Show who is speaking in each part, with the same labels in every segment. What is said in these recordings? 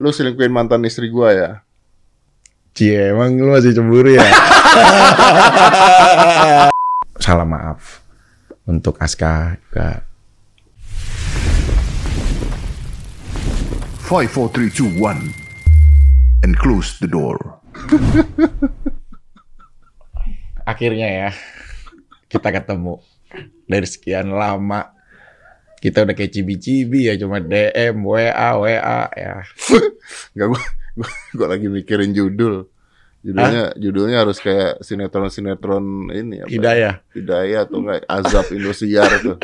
Speaker 1: Lu selingkuhin mantan istri gua ya?
Speaker 2: Cie, emang lu masih cemburu ya? Salah maaf untuk Aska juga.
Speaker 3: 5, 4, 3, 2, 1. And close the door.
Speaker 2: Akhirnya ya kita ketemu dari sekian lama kita udah kayak cibi-cibi ya cuma DM, WA, WA ya.
Speaker 1: Enggak gua, gua gua lagi mikirin judul. Judulnya judulnya harus kayak sinetron-sinetron ini apa? ya?
Speaker 2: Hidayah.
Speaker 1: Hidayah atau enggak Azab Indosiar tuh.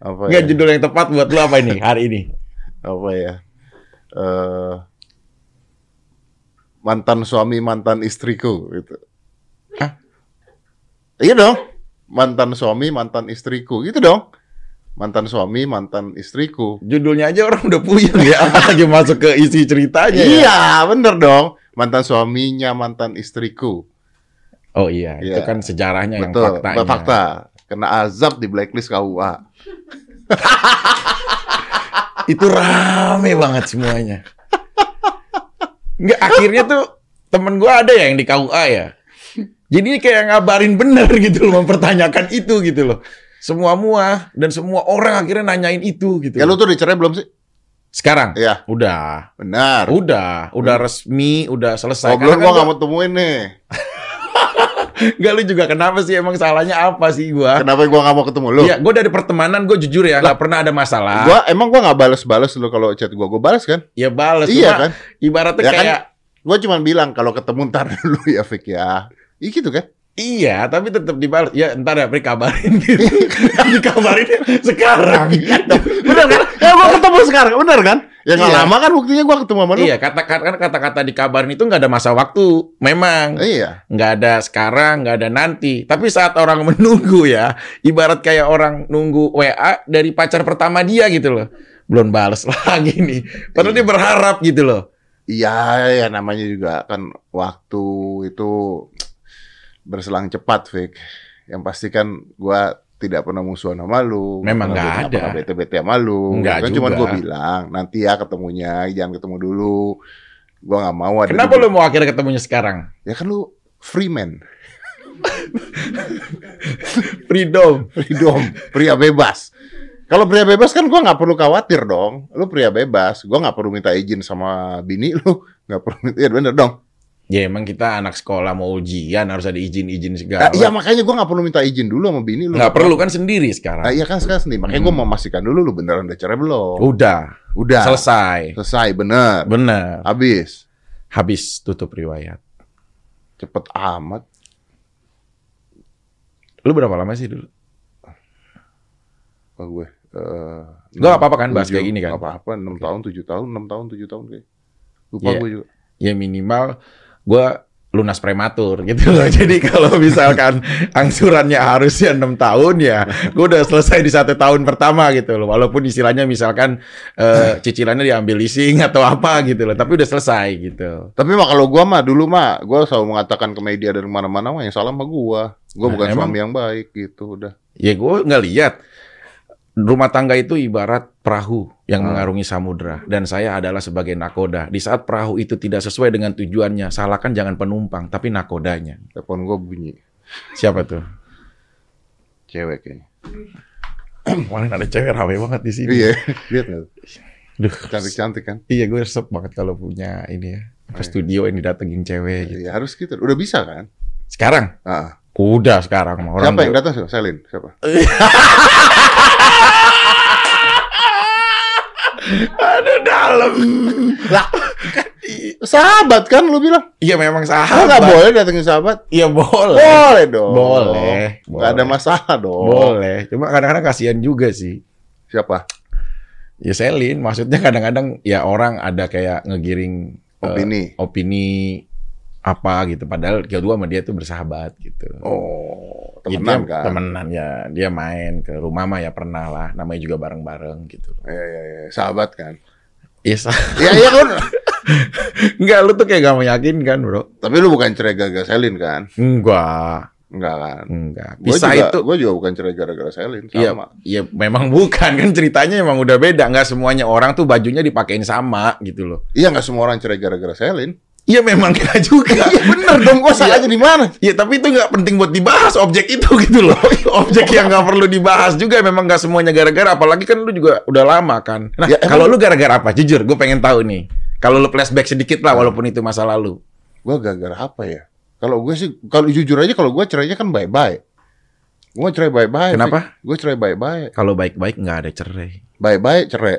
Speaker 1: Apa
Speaker 2: Enggak
Speaker 1: ya?
Speaker 2: judul yang tepat buat lu apa ini hari ini?
Speaker 1: Apa ya? Eh mantan suami mantan istriku gitu.
Speaker 2: Hah?
Speaker 1: Iya dong. Mantan suami mantan istriku gitu dong. Mantan suami mantan istriku.
Speaker 2: Judulnya aja orang udah puyeng ya, apalagi masuk ke isi ceritanya ya.
Speaker 1: Iya, bener dong. Mantan suaminya, mantan istriku.
Speaker 2: Oh iya, itu
Speaker 1: Iya.
Speaker 2: kan sejarahnya yang
Speaker 1: Betul,
Speaker 2: faktanya.
Speaker 1: fakta. Kena azab di blacklist KUA.
Speaker 2: Itu rame banget semuanya. Nggak, akhirnya tuh temen gua ada ya yang di KUA ya. Jadi kayak ngabarin bener gitu loh, mempertanyakan itu gitu loh. Semua-mua dan semua orang akhirnya nanyain itu gitu.
Speaker 1: Ya lu tuh dicerai belum sih?
Speaker 2: Sekarang?
Speaker 1: Iya.
Speaker 2: Udah.
Speaker 1: Benar.
Speaker 2: Udah, udah resmi, udah selesai.
Speaker 1: Oh, belum
Speaker 2: Karena
Speaker 1: gua
Speaker 2: Oh, kan
Speaker 1: nggak mau temuin nih.
Speaker 2: Enggak lu juga kenapa sih emang salahnya apa sih gua?
Speaker 1: Kenapa gua nggak mau ketemu Kan lu?
Speaker 2: Iya, gua dari pertemanan gua jujur ya nggak pernah ada masalah.
Speaker 1: Gua emang gua nggak balas-balas lu kalau chat gua. Gua balas kan?
Speaker 2: ya balas
Speaker 1: Iya
Speaker 2: cuma
Speaker 1: kan?
Speaker 2: Ibaratnya
Speaker 1: Ya kan?
Speaker 2: kayak
Speaker 1: Gua cuma bilang kalau ketemu ntar dulu ya Fik ya. Iya gitu kan?
Speaker 2: iya, tapi tetap dibalas. Ya ntar ya Pri kabarin gitu. dikabarin sekarang.
Speaker 1: Bener kan? Ya gua ketemu sekarang, bener kan? Ya nggak
Speaker 2: Iya.
Speaker 1: lama kan buktinya gua ketemu sama lu.
Speaker 2: iya, kata-kata kata-kata dikabarin itu nggak ada masa waktu. Memang
Speaker 1: Iya.
Speaker 2: nggak ada sekarang, nggak ada nanti. Tapi saat orang menunggu ya, ibarat kayak orang nunggu WA dari pacar pertama dia gitu loh. Belum balas lagi nih. Padahal dia berharap gitu loh.
Speaker 1: Iya, ya namanya juga kan waktu itu berselang cepat, Fik. Yang pasti kan gua tidak pernah musuhan sama lu. pernah
Speaker 2: Memang nggak
Speaker 1: gua-
Speaker 2: ada.
Speaker 1: pernah bete-bete sama lu.
Speaker 2: Nggak
Speaker 1: kan cuman
Speaker 2: juga.
Speaker 1: gua bilang, nanti ya ketemunya, jangan ketemu dulu. Gua nggak mau ada
Speaker 2: Kenapa
Speaker 1: di-
Speaker 2: lu mau akhirnya ketemunya sekarang?
Speaker 1: Ya kan lu free man,
Speaker 2: Freedom.
Speaker 1: freedom, pria bebas. Kalau pria bebas kan gua nggak perlu khawatir dong. Lu pria bebas, gua nggak perlu minta izin sama bini lu, nggak perlu minta ya bener dong.
Speaker 2: Ya emang kita anak sekolah mau ujian harus ada izin-izin
Speaker 1: Ah,
Speaker 2: segala.
Speaker 1: Iya makanya gua nggak perlu minta izin dulu sama bini lu.
Speaker 2: Nggak perlu kan sendiri
Speaker 1: Nah,
Speaker 2: sekarang.
Speaker 1: iya kan sekarang sendiri. Makanya
Speaker 2: Hmm.
Speaker 1: gua mau memastikan dulu lu beneran udah cerai belum.
Speaker 2: Udah,
Speaker 1: Udah. Selesai.
Speaker 2: Oh, selesai. Hmm.
Speaker 1: bener.
Speaker 2: Bener.
Speaker 1: Habis.
Speaker 2: Habis tutup riwayat.
Speaker 1: Cepet amat.
Speaker 2: Lu berapa lama sih dulu?
Speaker 1: Kalau gue. eh,
Speaker 2: Gua
Speaker 1: enam,
Speaker 2: nggak apa-apa kan bahas
Speaker 1: tujuh,
Speaker 2: kayak gini kan?
Speaker 1: nggak apa-apa. 6 tahun, 7 tahun, 6 tahun, 7 tahun kayak. Lupa
Speaker 2: Iya.
Speaker 1: gue juga.
Speaker 2: Ya minimal gua lunas prematur gitu loh. Jadi kalau misalkan angsurannya harusnya enam tahun ya, gua udah selesai di satu tahun pertama gitu loh. Walaupun istilahnya misalkan eh, cicilannya diambil leasing atau apa gitu loh, tapi udah selesai gitu.
Speaker 1: Tapi mah kalau gua mah dulu mah gua selalu mengatakan ke media dari mana-mana mah yang salah mah gua. Gua
Speaker 2: Nah,
Speaker 1: bukan
Speaker 2: emang-
Speaker 1: suami yang baik gitu udah.
Speaker 2: Ya gua nggak lihat rumah tangga itu ibarat perahu yang
Speaker 1: Hmm.
Speaker 2: mengarungi samudra dan saya adalah sebagai nakoda. Di saat perahu itu tidak sesuai dengan tujuannya, salahkan jangan penumpang tapi nakodanya.
Speaker 1: Telepon gua bunyi.
Speaker 2: Siapa tuh?
Speaker 1: Cewek kayaknya.
Speaker 2: Kemarin ada cewek rame banget di sini.
Speaker 1: Iya, lihat nggak?
Speaker 2: Duh.
Speaker 1: Cantik-cantik kan?
Speaker 2: Iya, gue resep banget kalau punya ini ya. Apa
Speaker 1: Iya.
Speaker 2: studio yang didatengin cewek gitu.
Speaker 1: Iya, harus gitu. Udah bisa kan?
Speaker 2: Sekarang?
Speaker 1: Ah.
Speaker 2: Udah sekarang. mah. Orang
Speaker 1: Siapa yang
Speaker 2: tuh-
Speaker 1: datang? Selin, siapa?
Speaker 2: Aduh, dalam.
Speaker 1: Lah, sahabat kan lu bilang.
Speaker 2: Iya, memang
Speaker 1: Ah, nggak
Speaker 2: sahabat.
Speaker 1: boleh datengin sahabat.
Speaker 2: Iya, boleh.
Speaker 1: Boleh dong.
Speaker 2: Boleh.
Speaker 1: Nggak ada
Speaker 2: Boleh.
Speaker 1: masalah
Speaker 2: Oh.
Speaker 1: dong.
Speaker 2: Boleh. Cuma kadang-kadang kasihan juga sih.
Speaker 1: Siapa?
Speaker 2: Ya selin, maksudnya kadang-kadang ya orang ada kayak ngegiring eh,
Speaker 1: Opini.
Speaker 2: opini apa gitu. Padahal kedua sama dia tuh bersahabat gitu.
Speaker 1: Oh,
Speaker 2: Ya,
Speaker 1: temenan
Speaker 2: dia
Speaker 1: kan?
Speaker 2: Temenan ya. Dia main ke rumah mah ya pernah lah. Namanya juga bareng-bareng gitu.
Speaker 1: Iya, iya, iya. Sahabat kan?
Speaker 2: Iya, sa-
Speaker 1: Iya, iya kan?
Speaker 2: Enggak, lu tuh kayak gak meyakinkan bro.
Speaker 1: Tapi lu bukan cerai gagal Selin kan?
Speaker 2: Enggak.
Speaker 1: Enggak kan.
Speaker 2: Enggak.
Speaker 1: Gua
Speaker 2: Pisah
Speaker 1: juga,
Speaker 2: itu
Speaker 1: Gue juga bukan cerai gara-gara selin. Sama.
Speaker 2: Iya, iya memang bukan kan ceritanya emang udah beda. Nggak semuanya orang tuh bajunya dipakein sama gitu loh.
Speaker 1: Iya nggak semua orang cerai gara-gara selin.
Speaker 2: Iya memang kita juga.
Speaker 1: Iya bener dong. Gue salahnya di mana?
Speaker 2: Iya tapi itu nggak penting buat dibahas objek itu gitu loh. Objek yang nggak perlu dibahas juga memang nggak semuanya gara-gara. Apalagi kan lu juga udah lama kan. Nah
Speaker 1: Ya, emang-
Speaker 2: kalau lu gara-gara apa? Jujur gue pengen tahu nih. Kalau lu flashback sedikit lah walaupun itu masa lalu.
Speaker 1: Gue gara-gara apa ya? Kalau gue sih, kalau jujur aja kalau gue cerainya kan bye-bye. Gue cerai bye-bye.
Speaker 2: Kenapa?
Speaker 1: Gue cerai bye-bye.
Speaker 2: Kalau baik-baik nggak ada cerai.
Speaker 1: Bye-bye cerai.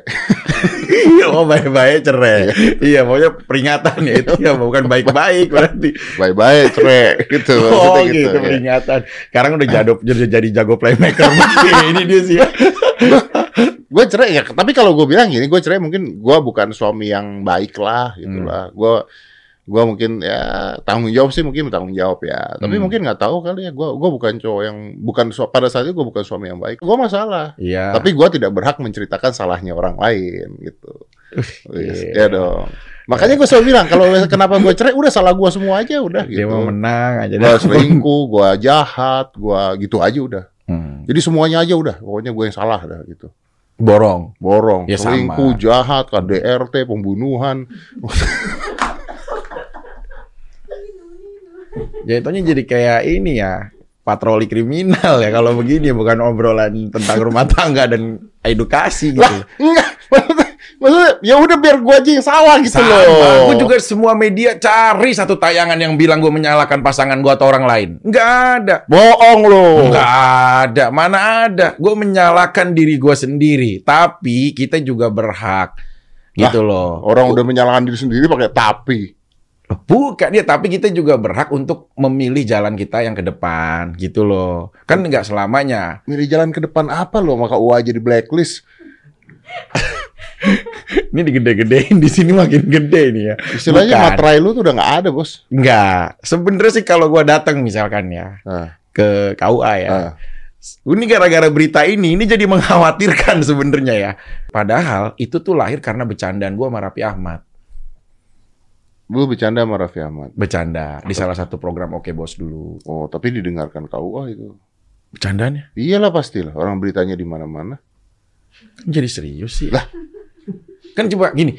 Speaker 1: Iya.
Speaker 2: oh baik-baik cerai. iya maunya peringatan ya itu ya bukan baik-baik berarti.
Speaker 1: Bye-bye cerai. gitu.
Speaker 2: Oh
Speaker 1: maksudnya
Speaker 2: gitu,
Speaker 1: ya.
Speaker 2: peringatan. Sekarang udah jadop, jadi, jadi jago playmaker. ini dia sih. ya.
Speaker 1: gue cerai ya tapi kalau gue bilang gini gue cerai mungkin gue bukan suami yang baik lah
Speaker 2: Hmm.
Speaker 1: gitulah gue gue mungkin ya tanggung jawab sih mungkin tanggung jawab ya tapi
Speaker 2: Hmm.
Speaker 1: mungkin nggak tahu kali ya gue gue bukan cowok yang bukan su- pada saat itu gue bukan suami yang baik gue masalah
Speaker 2: Iya.
Speaker 1: tapi gue tidak berhak menceritakan salahnya orang lain gitu Wis,
Speaker 2: iya.
Speaker 1: ya dong makanya gue selalu bilang kalau kenapa gue cerai udah salah gue semua aja udah
Speaker 2: dia
Speaker 1: gitu
Speaker 2: mau menang aja.
Speaker 1: gue selingkuh gue jahat gue gitu aja udah
Speaker 2: Hmm.
Speaker 1: jadi semuanya aja udah pokoknya gue yang salah dah gitu
Speaker 2: Borong.
Speaker 1: borong,
Speaker 2: Ya,
Speaker 1: selingkuh,
Speaker 2: sama.
Speaker 1: jahat, KDRT, pembunuhan.
Speaker 2: Jatuhnya jadi kayak ini ya, patroli kriminal ya kalau begini bukan obrolan tentang rumah tangga dan edukasi gitu.
Speaker 1: Enggak, maksudnya, maksudnya ya udah biar gua aja yang salah gitu
Speaker 2: Sama.
Speaker 1: loh.
Speaker 2: Gue juga semua media cari satu tayangan yang bilang gue menyalahkan pasangan gue atau orang lain. Nggak ada.
Speaker 1: bohong loh.
Speaker 2: Nggak ada, mana ada. Gue menyalahkan diri gue sendiri, tapi kita juga berhak, gitu loh.
Speaker 1: Orang udah menyalahkan diri sendiri pakai tapi.
Speaker 2: Bukan ya, tapi kita juga berhak untuk memilih jalan kita yang ke depan, gitu loh. Kan nggak selamanya.
Speaker 1: Milih jalan ke depan apa loh maka gua jadi blacklist.
Speaker 2: Ini digede-gedein di sini makin gede nih ya.
Speaker 1: Istilahnya
Speaker 2: Bukan.
Speaker 1: materai lu tuh udah nggak ada, Bos.
Speaker 2: Nggak. Sebenarnya sih kalau gue datang misalkan ya
Speaker 1: Nah,
Speaker 2: ke KUA ya.
Speaker 1: nah.
Speaker 2: Ini gara-gara berita ini, ini jadi mengkhawatirkan sebenarnya ya. Padahal itu tuh lahir karena bercandaan gue sama Raffi Ahmad.
Speaker 1: Lu bercanda sama Raffi Ahmad.
Speaker 2: Bercanda di salah satu program Oke Bos dulu.
Speaker 1: Oh, tapi didengarkan KUA itu. ya?
Speaker 2: Bercandanya?
Speaker 1: Iyalah pastilah, orang beritanya di mana-mana.
Speaker 2: Kan jadi serius sih. Lah. Kan coba gini.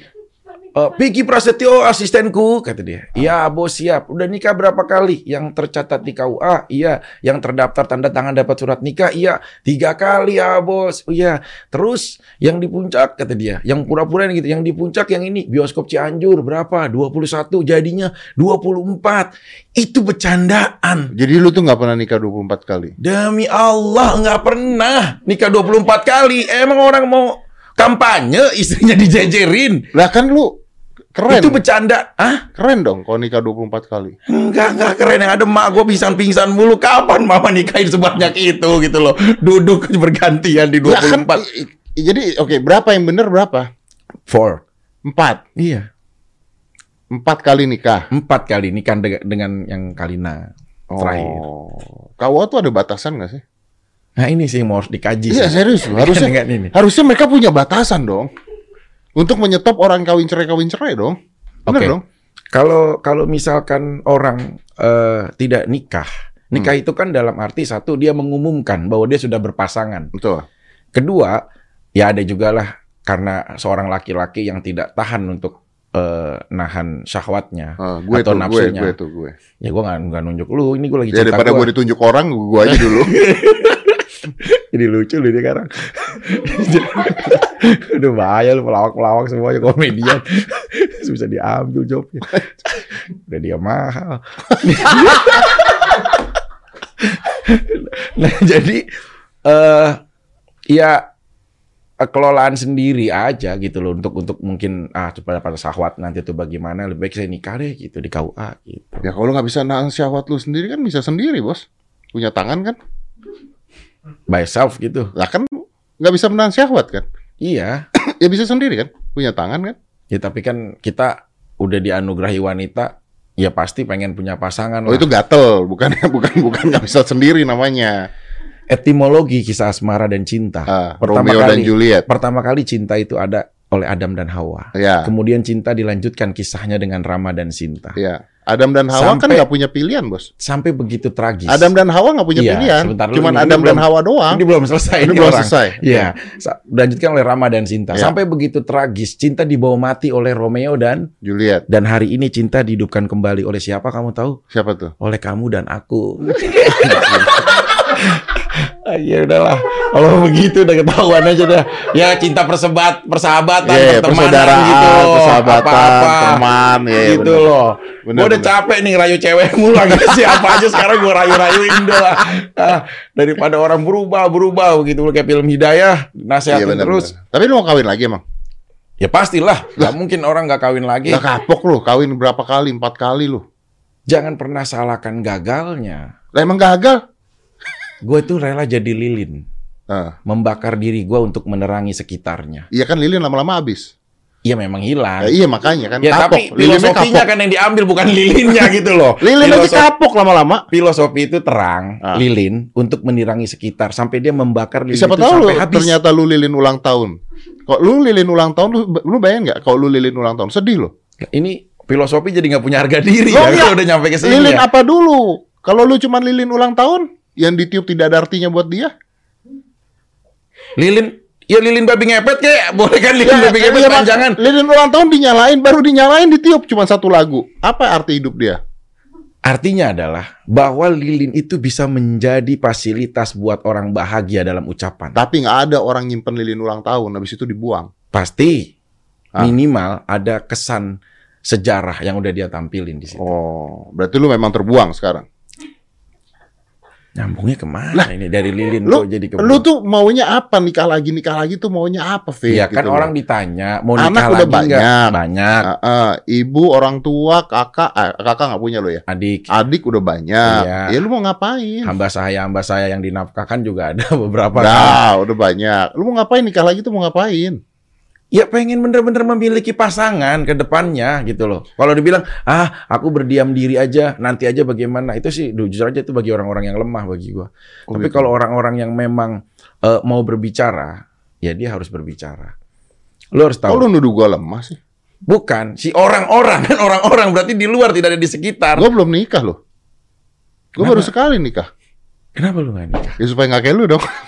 Speaker 2: Eh, Vicky Prasetyo asistenku kata dia. Iya, Bos siap. Udah nikah berapa kali? Yang tercatat di KUA? Iya. Yang terdaftar tanda tangan dapat surat nikah? Iya. Tiga kali ya, Bos. Oh, Iya. Terus yang di puncak kata dia, yang pura-pura yang gitu, yang di puncak yang ini bioskop Cianjur berapa? 21 jadinya 24. Itu bercandaan.
Speaker 1: Jadi lu tuh nggak pernah nikah 24 kali.
Speaker 2: Demi Allah nggak pernah nikah 24 kali. Emang orang mau kampanye istrinya dijejerin.
Speaker 1: Lah kan lu keren.
Speaker 2: Itu bercanda. Ah,
Speaker 1: keren dong kalau nikah 24 kali.
Speaker 2: enggak enggak keren yang ada mak gue pingsan-pingsan mulu. Kapan mama nikahin sebanyak itu gitu loh. Duduk bergantian di
Speaker 1: Lah kan,
Speaker 2: 24.
Speaker 1: i- i- jadi oke berapa yang bener berapa?
Speaker 2: Four.
Speaker 1: Empat.
Speaker 2: Iya.
Speaker 1: Empat kali nikah.
Speaker 2: Empat kali nikah de- dengan yang Kalina terakhir.
Speaker 1: Oh. KUA tuh ada batasan gak sih?
Speaker 2: Nah ini sih yang mau harus dikaji.
Speaker 1: Iya
Speaker 2: sih.
Speaker 1: serius loh. harusnya
Speaker 2: Dengan Kan ini.
Speaker 1: harusnya mereka punya batasan dong. Untuk menyetop orang kawin cerai kawin cerai dong. Bener
Speaker 2: Oke.
Speaker 1: dong.
Speaker 2: Kalau kalau misalkan orang eh, tidak nikah,
Speaker 1: Hmm.
Speaker 2: nikah itu kan dalam arti satu dia mengumumkan bahwa dia sudah berpasangan.
Speaker 1: Betul.
Speaker 2: Kedua, ya ada juga lah karena seorang laki-laki yang tidak tahan untuk eh, nahan syahwatnya.
Speaker 1: Ah, gue tuh
Speaker 2: Atau
Speaker 1: gue,
Speaker 2: nafsunya.
Speaker 1: gue tuh gue.
Speaker 2: Ya gue nggak nggak nunjuk lu, ini gue lagi
Speaker 1: Ya
Speaker 2: cerita
Speaker 1: daripada
Speaker 2: gua.
Speaker 1: gue ditunjuk orang, gue aja dulu.
Speaker 2: Jadi lucu lu dia sekarang. Udah bahaya lu pelawak-pelawak semuanya komedian. Bisa diambil jobnya. Udah dia mahal. nah jadi eh ya kelolaan sendiri aja gitu loh untuk untuk mungkin ah pada pada sahwat nanti tuh bagaimana lebih baik saya nikah deh gitu di KUA gitu.
Speaker 1: ya kalau nggak bisa nahan syahwat lu sendiri kan bisa sendiri bos. Punya tangan kan?
Speaker 2: By self gitu.
Speaker 1: Lah kan nggak bisa menahan syahwat kan?
Speaker 2: Iya.
Speaker 1: Ya bisa sendiri kan? Punya tangan kan?
Speaker 2: Ya tapi kan kita udah dianugerahi wanita, ya pasti pengen punya pasangan.
Speaker 1: Oh
Speaker 2: lah.
Speaker 1: itu gatel, bukan bukan bukan nggak bisa sendiri namanya.
Speaker 2: etimologi kisah asmara dan cinta.
Speaker 1: Ah,
Speaker 2: pertama
Speaker 1: Romeo
Speaker 2: kali,
Speaker 1: dan Juliet.
Speaker 2: pertama kali cinta itu ada oleh Adam dan Hawa.
Speaker 1: Ya,
Speaker 2: Kemudian cinta dilanjutkan kisahnya dengan Rama dan Sinta.
Speaker 1: ya. Adam dan Hawa kan
Speaker 2: Sampai-
Speaker 1: nggak punya pilihan, bos.
Speaker 2: sampai begitu tragis.
Speaker 1: Adam dan Hawa nggak punya
Speaker 2: Iya,
Speaker 1: pilihan,
Speaker 2: sebentar dulu,
Speaker 1: cuman
Speaker 2: ini
Speaker 1: Adam dan
Speaker 2: belum-
Speaker 1: Hawa doang.
Speaker 2: ini belum selesai
Speaker 1: Ini
Speaker 2: ini
Speaker 1: belum
Speaker 2: orang.
Speaker 1: selesai.
Speaker 2: Iya, Sa- dilanjutkan oleh Rama dan Cinta.
Speaker 1: Iya.
Speaker 2: Sampai begitu tragis, cinta dibawa mati oleh Romeo dan
Speaker 1: Juliet,
Speaker 2: dan hari ini cinta dihidupkan kembali oleh siapa kamu tahu?
Speaker 1: siapa tuh?
Speaker 2: Oleh kamu dan aku. Ah, Ya udahlah, kalau begitu udah ketahuan aja dah. Ya cinta persebat, persahabatan,
Speaker 1: Iya,
Speaker 2: pertemanan
Speaker 1: persaudaraan,
Speaker 2: gitu,
Speaker 1: persahabatan,
Speaker 2: apa-apa.
Speaker 1: teman, ya, ya,
Speaker 2: gitu
Speaker 1: benar.
Speaker 2: loh.
Speaker 1: Benar,
Speaker 2: Gue udah
Speaker 1: benar.
Speaker 2: capek nih ngerayu cewek mulu lagi siapa aja sekarang gue rayu-rayuin dah lah. Ah, daripada orang berubah berubah begitu kayak film Hidayah
Speaker 1: Iya,
Speaker 2: nasehatin
Speaker 1: benar,
Speaker 2: terus.
Speaker 1: benar. Tapi lu mau kawin lagi emang?
Speaker 2: Ya pastilah, nggak mungkin orang nggak kawin lagi.
Speaker 1: Gak kapok lu, kawin berapa kali? Empat kali lu.
Speaker 2: Jangan pernah salahkan gagalnya.
Speaker 1: Lah emang gagal?
Speaker 2: Gue tuh rela jadi lilin,
Speaker 1: Nah,
Speaker 2: membakar diri gue untuk menerangi sekitarnya.
Speaker 1: iya kan lilin lama-lama habis.
Speaker 2: Iya memang hilang.
Speaker 1: Ya, iya makanya kan
Speaker 2: Ya tapi
Speaker 1: kapok. Lilinnya
Speaker 2: filosofinya
Speaker 1: kapok.
Speaker 2: kan yang diambil bukan lilinnya gitu loh.
Speaker 1: Lilin aja
Speaker 2: Filosofi-
Speaker 1: kapok lama-lama.
Speaker 2: filosofi itu terang,
Speaker 1: Ah.
Speaker 2: lilin untuk menerangi sekitar sampai dia membakar lilin
Speaker 1: Siapa
Speaker 2: itu
Speaker 1: tahu lu
Speaker 2: Iya, gitu, sampai habis.
Speaker 1: ternyata lu lilin ulang tahun. Kok lu lilin ulang tahun lu, lu bayangin nggak kalau lu lilin ulang tahun sedih lo.
Speaker 2: Ini filosofi jadi nggak punya harga diri
Speaker 1: Loh,
Speaker 2: ya
Speaker 1: iya.
Speaker 2: kalau udah nyampe ke sini.
Speaker 1: Lilin
Speaker 2: Ya.
Speaker 1: apa dulu? Kalau lu cuman lilin ulang tahun yang ditiup tidak ada artinya buat dia.
Speaker 2: Lilin Ya lilin babi ngepet kayak boleh kan lilin babi
Speaker 1: iya,
Speaker 2: ngepet
Speaker 1: Pak.
Speaker 2: panjangan.
Speaker 1: Lilin ulang tahun dinyalain baru dinyalain ditiup cuman satu lagu. Apa arti hidup dia?
Speaker 2: Artinya adalah bahwa lilin itu bisa menjadi fasilitas buat orang bahagia dalam ucapan.
Speaker 1: Tapi nggak ada orang nyimpen lilin ulang tahun habis itu dibuang.
Speaker 2: Pasti
Speaker 1: Ah.
Speaker 2: minimal ada kesan sejarah yang udah dia tampilin di situ.
Speaker 1: Oh, berarti lu memang terbuang sekarang.
Speaker 2: Nyambungnya kemana ini dari lilin
Speaker 1: Lu,
Speaker 2: kok jadi ke
Speaker 1: lu tuh maunya apa? Nikah lagi, nikah lagi tuh maunya apa, Fit?
Speaker 2: Iya kan
Speaker 1: Gitu loh.
Speaker 2: orang ditanya mau
Speaker 1: Anak
Speaker 2: nikah
Speaker 1: udah
Speaker 2: lagi nggak?
Speaker 1: banyak.
Speaker 2: banyak
Speaker 1: Ah, ah, ibu, orang tua, kakak, ah, kakak nggak punya lo ya.
Speaker 2: adik
Speaker 1: Adik udah banyak.
Speaker 2: Iya.
Speaker 1: Ya lu mau ngapain?
Speaker 2: hamba saya hamba saya yang dinafkahkan juga ada beberapa kan.
Speaker 1: Nah, udah banyak. Lu mau ngapain nikah lagi tuh mau ngapain?
Speaker 2: ya pengen bener-bener memiliki pasangan ke depannya gitu loh kalau dibilang ah aku berdiam diri aja nanti aja bagaimana itu sih duh, jujur aja itu bagi orang-orang yang lemah bagi gua
Speaker 1: Oh,
Speaker 2: tapi
Speaker 1: gitu.
Speaker 2: kalau orang-orang yang memang eh, mau berbicara ya dia harus berbicara lo harus
Speaker 1: Kok
Speaker 2: tahu
Speaker 1: lu nuduh gua lemah sih?
Speaker 2: bukan si orang-orang kan orang-orang berarti di luar tidak ada di sekitar
Speaker 1: Gua belum nikah loh. Gua baru
Speaker 2: Kenapa?
Speaker 1: sekali nikah.
Speaker 2: kenapa lu nggak nikah
Speaker 1: Ya supaya nggak kayak lu dong.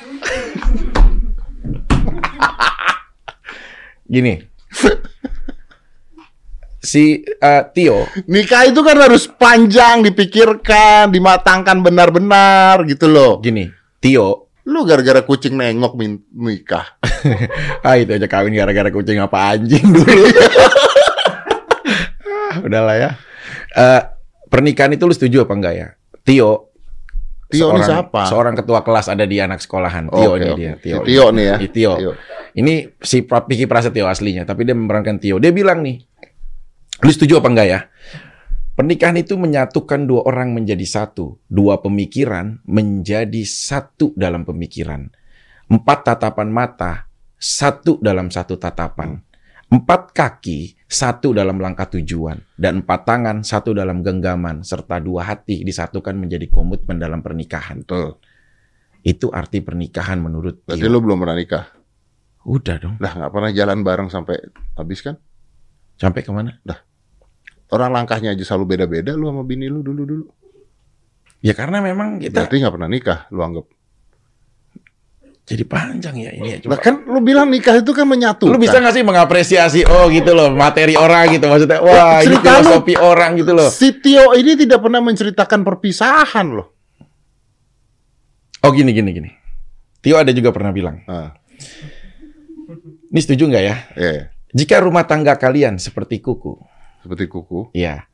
Speaker 2: gini si eh, Tio
Speaker 1: nikah itu kan harus panjang, dipikirkan, dimatangkan benar-benar gitu loh.
Speaker 2: gini Tio
Speaker 1: Lu gara-gara kucing nengok min- nikah.
Speaker 2: ah itu aja kawin gara-gara kucing apa anjing dulu Ah, udahlah ya Eh, pernikahan itu lu setuju apa enggak ya Tio
Speaker 1: Tio ini
Speaker 2: seorang-
Speaker 1: siapa?
Speaker 2: seorang ketua kelas ada di anak sekolahan Tio
Speaker 1: Oke,
Speaker 2: ini
Speaker 1: oke.
Speaker 2: dia
Speaker 1: Si Tio nih ya.
Speaker 2: Si Tio.
Speaker 1: Tio.
Speaker 2: ini si Pra- Piki Prasetyo aslinya tapi dia memerankan Tio dia bilang nih lu setuju apa enggak ya Pernikahan itu menyatukan dua orang menjadi satu, dua pemikiran menjadi satu dalam pemikiran, empat tatapan mata satu dalam satu tatapan, empat kaki satu dalam langkah tujuan, dan empat tangan satu dalam genggaman, serta dua hati disatukan menjadi komitmen dalam pernikahan.
Speaker 1: Betul.
Speaker 2: Itu arti pernikahan menurut
Speaker 1: Berarti
Speaker 2: Tio.
Speaker 1: lu belum pernah nikah.
Speaker 2: Udah dong,
Speaker 1: Lah nggak pernah jalan bareng sampai habis kan?
Speaker 2: sampai kemana?
Speaker 1: Orang langkahnya aja selalu beda-beda lu sama bini lu dulu-dulu.
Speaker 2: Ya karena memang kita
Speaker 1: Berarti nggak pernah nikah lu anggap.
Speaker 2: jadi panjang ya ini ya.
Speaker 1: Lah
Speaker 2: Coba.
Speaker 1: kan lu bilang nikah itu kan menyatukan.
Speaker 2: Lu bisa nggak sih mengapresiasi oh gitu loh materi orang gitu maksudnya wah ini
Speaker 1: Cerita lu-
Speaker 2: filosofi orang gitu loh.
Speaker 1: Si Tio ini tidak pernah menceritakan perpisahan loh.
Speaker 2: Oh gini gini gini. Tio ada juga pernah bilang.
Speaker 1: Ah,
Speaker 2: Ini setuju nggak ya?
Speaker 1: iya, iya.
Speaker 2: Jika rumah tangga kalian seperti kuku,
Speaker 1: seperti kuku.
Speaker 2: ya.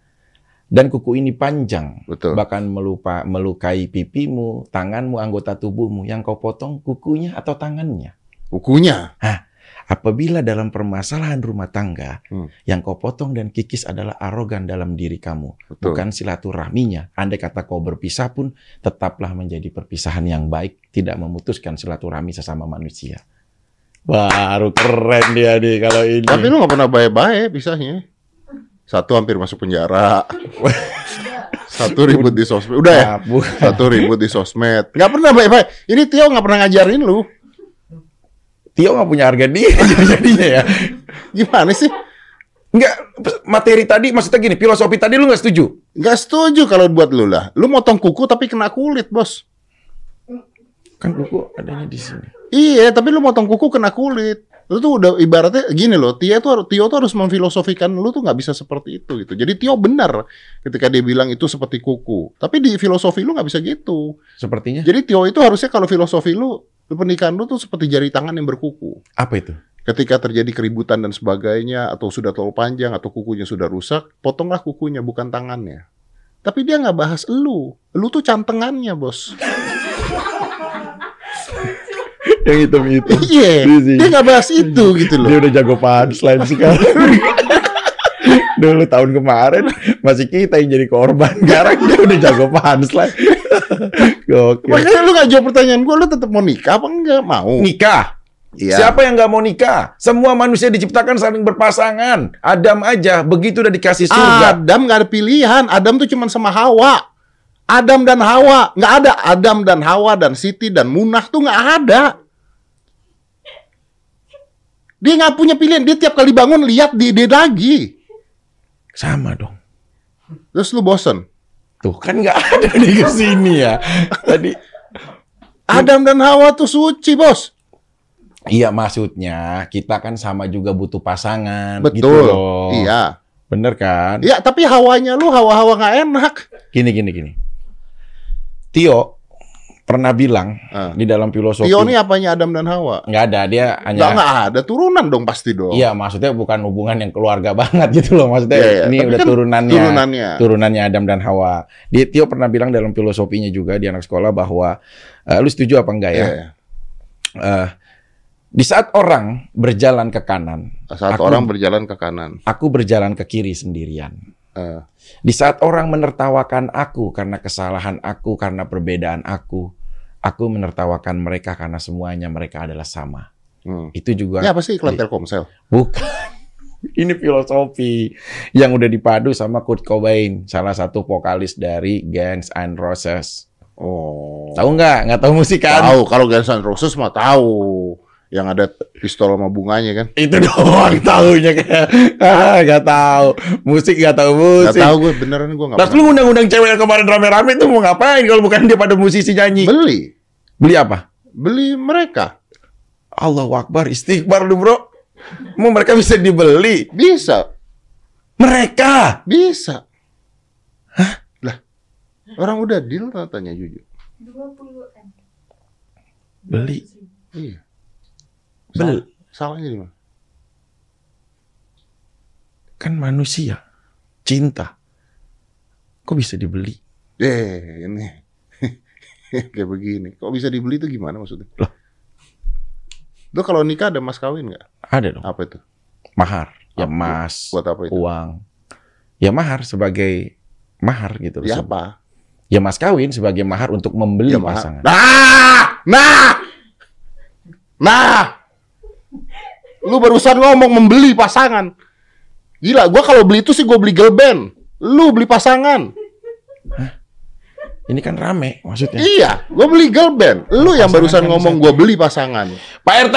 Speaker 2: Dan kuku ini panjang,
Speaker 1: Betul.
Speaker 2: bahkan melupa melukai pipimu, tanganmu, anggota tubuhmu yang kau potong kukunya atau tangannya.
Speaker 1: Kukunya.
Speaker 2: Apabila dalam permasalahan rumah tangga,
Speaker 1: Hmm.
Speaker 2: yang kau potong dan kikis adalah arogan dalam diri kamu.
Speaker 1: Betul.
Speaker 2: bukan silaturahminya. Andai kata kau berpisah pun tetaplah menjadi perpisahan yang baik, tidak memutuskan silaturahmi sesama manusia. Baru keren dia nih kalau ini.
Speaker 1: Tapi lu nggak pernah baik-baik pisahnya. Satu hampir masuk penjara. Satu ribut di sosmed. Udah ya?
Speaker 2: Ah, bu-
Speaker 1: Satu ribut di sosmed. Nggak pernah baik-baik. Ini Tio nggak pernah ngajarin lu.
Speaker 2: Tio nggak punya harga diri jadinya ya.
Speaker 1: Gimana sih?
Speaker 2: Enggak, materi tadi maksudnya gini, filosofi tadi lu nggak setuju?
Speaker 1: Nggak setuju kalau buat lu lah. Lu motong kuku tapi kena kulit, bos.
Speaker 2: Kan kuku adanya di sini.
Speaker 1: Iya, tapi lu motong kuku kena kulit. Lu tuh udah ibaratnya gini loh, Tio tuh harus Tio tuh harus memfilosofikan lu tuh nggak bisa seperti itu gitu. Jadi Tio benar ketika dia bilang itu seperti kuku. Tapi di filosofi lu nggak bisa gitu.
Speaker 2: Sepertinya
Speaker 1: Jadi Tio itu harusnya kalau filosofi lu, lu pernikahan lu tuh seperti jari tangan yang berkuku.
Speaker 2: apa itu?
Speaker 1: Ketika terjadi keributan dan sebagainya atau sudah terlalu panjang atau kukunya sudah rusak, potonglah kukunya bukan tangannya. Tapi dia nggak bahas lu. Lu tuh cantengannya, Bos.
Speaker 2: Yang hitam itu.
Speaker 1: Iya. Dia nggak bahas itu gitu loh.
Speaker 2: Dia udah jago punchline sekarang. Dulu tahun kemarin masih kita yang jadi korban. Sekarang dia udah jago punchline. Gokil.
Speaker 1: Makanya lu gak jawab pertanyaan gue, lu tetap mau nikah apa enggak? Mau.
Speaker 2: Nikah.
Speaker 1: Iya.
Speaker 2: Siapa yang nggak mau nikah? Semua manusia diciptakan saling berpasangan. Adam aja begitu udah dikasih surga.
Speaker 1: Adam gak ada pilihan. Adam tuh cuman sama Hawa. Adam dan Hawa. Nggak ada Adam dan Hawa dan Siti dan Munah tuh nggak ada. Dia nggak punya pilihan. Dia tiap kali bangun lihat dia, dia lagi.
Speaker 2: Sama dong.
Speaker 1: Terus lu bosen.
Speaker 2: Tuh kan nggak ada di kesini ya. Tadi
Speaker 1: Adam dan Hawa tuh suci bos.
Speaker 2: Iya maksudnya kita kan sama juga butuh pasangan
Speaker 1: Betul.
Speaker 2: gitu loh.
Speaker 1: Iya.
Speaker 2: Bener kan?
Speaker 1: Iya tapi hawanya lu hawa-hawa nggak enak.
Speaker 2: Gini gini gini. Tio pernah bilang
Speaker 1: Ah.
Speaker 2: di dalam filosofi
Speaker 1: Tio nih apanya Adam dan Hawa?
Speaker 2: nggak ada dia
Speaker 1: Nggak
Speaker 2: hanya
Speaker 1: nggak ada turunan dong pasti dong.
Speaker 2: Iya maksudnya bukan hubungan yang keluarga banget gitu loh maksudnya
Speaker 1: Iya, iya.
Speaker 2: ini
Speaker 1: Tapi
Speaker 2: udah
Speaker 1: kan
Speaker 2: turunannya
Speaker 1: turunannya.
Speaker 2: turunannya Adam dan Hawa. Dia Tio pernah bilang dalam filosofinya juga di anak sekolah bahwa eh, lu setuju apa enggak ya?
Speaker 1: Iya, iya.
Speaker 2: Eh, di saat orang berjalan ke kanan,
Speaker 1: Saat
Speaker 2: Aku-
Speaker 1: orang berjalan ke kanan.
Speaker 2: aku berjalan ke kiri sendirian.
Speaker 1: Eh,
Speaker 2: Di saat orang menertawakan aku karena kesalahan aku, karena perbedaan aku, aku menertawakan mereka karena semuanya mereka adalah sama.
Speaker 1: hmm.
Speaker 2: Itu juga
Speaker 1: Ini apa sih iklan Telkomsel?
Speaker 2: bukan. Ini filosofi yang udah dipadu sama Kurt Cobain, salah satu vokalis dari Guns N' Roses.
Speaker 1: Oh.
Speaker 2: Tahu nggak? Nggak tahu musik kan?
Speaker 1: Tahu kalau Guns N' Roses mah tahu yang ada pistol sama bunganya kan.
Speaker 2: Itu doang tahunya kayak ah, nggak tahu musik nggak tahu
Speaker 1: Gak
Speaker 2: musik.
Speaker 1: tahu gue beneran gue nggak
Speaker 2: Terus lu undang-undang cewek yang kemarin rame-rame itu mau ngapain kalau bukan dia pada musisi nyanyi?
Speaker 1: beli
Speaker 2: Beli apa?
Speaker 1: beli mereka
Speaker 2: Allahu Akbar, istighfar lu bro. Mau mereka bisa dibeli?
Speaker 1: bisa
Speaker 2: Mereka!
Speaker 1: bisa. Hah? Lah orang udah deal tanya jujur.
Speaker 4: dua an
Speaker 2: Beli.
Speaker 1: Iya.
Speaker 2: Beli.
Speaker 1: Salah- Salahnya di mana?
Speaker 2: Kan manusia. Cinta. Kok bisa dibeli?
Speaker 1: Eh ini kayak begini. Kok bisa dibeli itu gimana maksudnya?
Speaker 2: Loh.
Speaker 1: Lu kalau nikah ada mas kawin nggak?
Speaker 2: Ada dong.
Speaker 1: Apa itu?
Speaker 2: Mahar. Ya
Speaker 1: Apa?
Speaker 2: emas.
Speaker 1: Buat apa itu?
Speaker 2: Uang. Ya mahar sebagai mahar gitu.
Speaker 1: Ya
Speaker 2: Ya,
Speaker 1: apa?
Speaker 2: ya mas kawin sebagai mahar untuk membeli
Speaker 1: Ya, Pak.
Speaker 2: Iya, pasangan.
Speaker 1: Nah, nah, nah. Lu barusan ngomong membeli pasangan. Gila, gua kalau beli itu sih gua beli girl band. Lu beli pasangan.
Speaker 2: Ini kan rame maksudnya.
Speaker 1: Iya, gua beli girl band. Lu yang
Speaker 2: Pasangan
Speaker 1: barusan
Speaker 2: kan
Speaker 1: ngomong
Speaker 2: bisa-
Speaker 1: gua beli pasangan.
Speaker 2: Pak RT!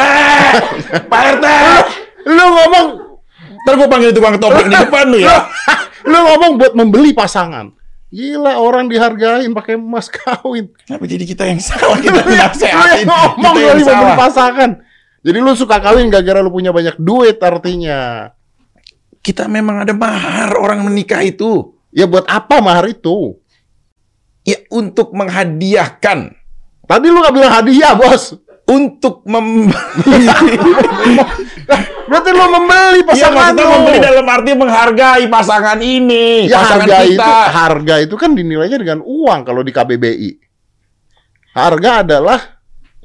Speaker 2: Pak RT!
Speaker 1: Lu ngomong
Speaker 2: Ntar gue panggil tukang topeng di depan lu ya.
Speaker 1: lu ngomong buat membeli pasangan. Gila, orang dihargain pakai emas kawin.
Speaker 2: Kenapa jadi kita yang salah? Kita
Speaker 1: Lu yang- lu
Speaker 2: nasehatin.
Speaker 1: yang ngomong lu
Speaker 2: Kita yang
Speaker 1: lagi membeli
Speaker 2: salah.
Speaker 1: pasangan. Jadi lu suka kawin gara-gara lu punya banyak duit artinya.
Speaker 2: kita memang ada mahar orang menikah itu
Speaker 1: Ya buat apa mahar itu?
Speaker 2: ya untuk menghadiahkan
Speaker 1: Tadi lu gak bilang hadiah, bos.
Speaker 2: untuk membeli
Speaker 1: Berarti lu membeli
Speaker 2: ya
Speaker 1: pasangan
Speaker 2: maksudnya
Speaker 1: Iya, lu.
Speaker 2: membeli dalam arti menghargai pasangan ini
Speaker 1: ya,
Speaker 2: pasangan
Speaker 1: harga
Speaker 2: kita
Speaker 1: itu harga itu kan dinilainya dengan uang kalau di KBBI. Harga adalah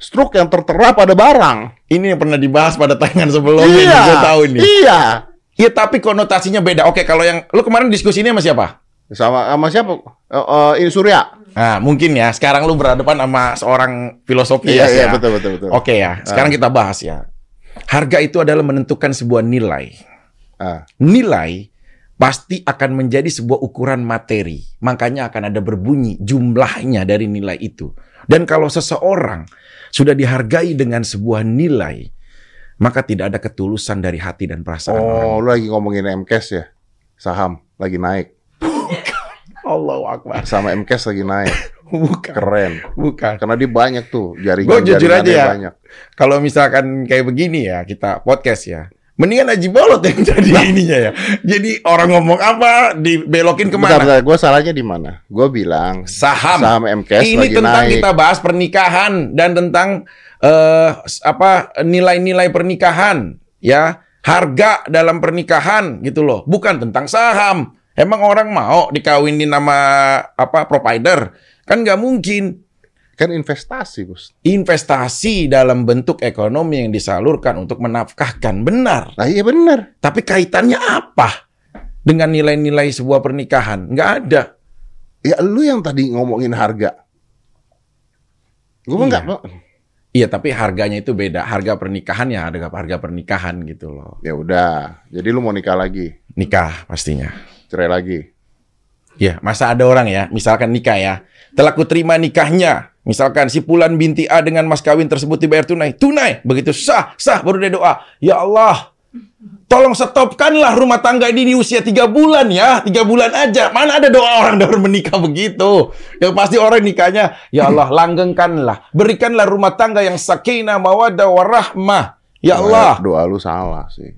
Speaker 1: struk yang tertera pada barang.
Speaker 2: ini yang pernah dibahas pada tayangan sebelumnya
Speaker 1: iya.
Speaker 2: gue tahu ini
Speaker 1: Iya.
Speaker 2: ya tapi konotasinya beda oke kalau yang lu kemarin diskusi ini sama siapa
Speaker 1: Sama sama siapa? Eh, eh, ini Surya.
Speaker 2: nah mungkin ya sekarang lu berhadapan sama seorang filosofi
Speaker 1: Iya,
Speaker 2: ya,
Speaker 1: iya,
Speaker 2: ya.
Speaker 1: betul, betul, betul. Ah.
Speaker 2: oke ya sekarang kita bahas ya harga itu adalah menentukan sebuah nilai
Speaker 1: Ah,
Speaker 2: nilai pasti akan menjadi sebuah ukuran materi. Makanya akan ada berbunyi jumlahnya dari nilai itu. Dan kalau seseorang sudah dihargai dengan sebuah nilai, maka tidak ada ketulusan dari hati dan perasaan orang.
Speaker 1: Oh, lu lagi ngomongin MKS ya? Saham lagi naik.
Speaker 2: Allahu Akbar.
Speaker 1: Sama MKS lagi naik.
Speaker 2: Bukan,
Speaker 1: Keren.
Speaker 2: bukan.
Speaker 1: Karena dia banyak tuh jaringan.
Speaker 2: Gua jujur aja
Speaker 1: jaringannya
Speaker 2: ya.
Speaker 1: Banyak.
Speaker 2: Kalau misalkan kayak begini ya, kita podcast ya. Mendingan Haji Bolot yang jadi ininya ya. Jadi orang ngomong apa dibelokin
Speaker 1: Bentar,
Speaker 2: kemana?
Speaker 1: bentar. Gua salahnya di mana? Gua bilang
Speaker 2: Saham.
Speaker 1: saham MKS
Speaker 2: Ini
Speaker 1: lagi
Speaker 2: tentang
Speaker 1: naik.
Speaker 2: kita bahas pernikahan dan tentang eh s- apa nilai-nilai pernikahan ya, harga dalam pernikahan gitu loh, bukan tentang saham. Emang orang mau dikawinin nama apa provider? Kan nggak mungkin.
Speaker 1: Kan investasi, Gus.
Speaker 2: Investasi dalam bentuk ekonomi yang disalurkan untuk menafkahkan benar.
Speaker 1: Nah, iya benar.
Speaker 2: Tapi kaitannya apa dengan nilai-nilai sebuah pernikahan? Nggak ada.
Speaker 1: Ya lu yang tadi ngomongin harga. Gua mah
Speaker 2: Iya.
Speaker 1: enggak
Speaker 2: Iya, tapi harganya itu beda. Harga pernikahan ya harga harga pernikahan gitu loh.
Speaker 1: Ya udah. Jadi lu mau nikah lagi,
Speaker 2: Nikah pastinya.
Speaker 1: cerai lagi.
Speaker 2: Ya, masa ada orang ya, misalkan nikah ya. Telah kuterima nikahnya. Misalkan si Pulan binti A dengan mas kawin tersebut dibayar tunai. Tunai. Begitu sah, sah baru dia doa. Ya Allah, tolong stopkanlah rumah tangga ini di usia tiga bulan ya. Tiga bulan aja. Mana ada doa orang baru menikah begitu. Yang pasti orang nikahnya, ya Allah langgengkanlah. Berikanlah rumah tangga yang sakinah, mawadah, warahmah. Ya Allah.
Speaker 1: Nah, Doa lu salah sih.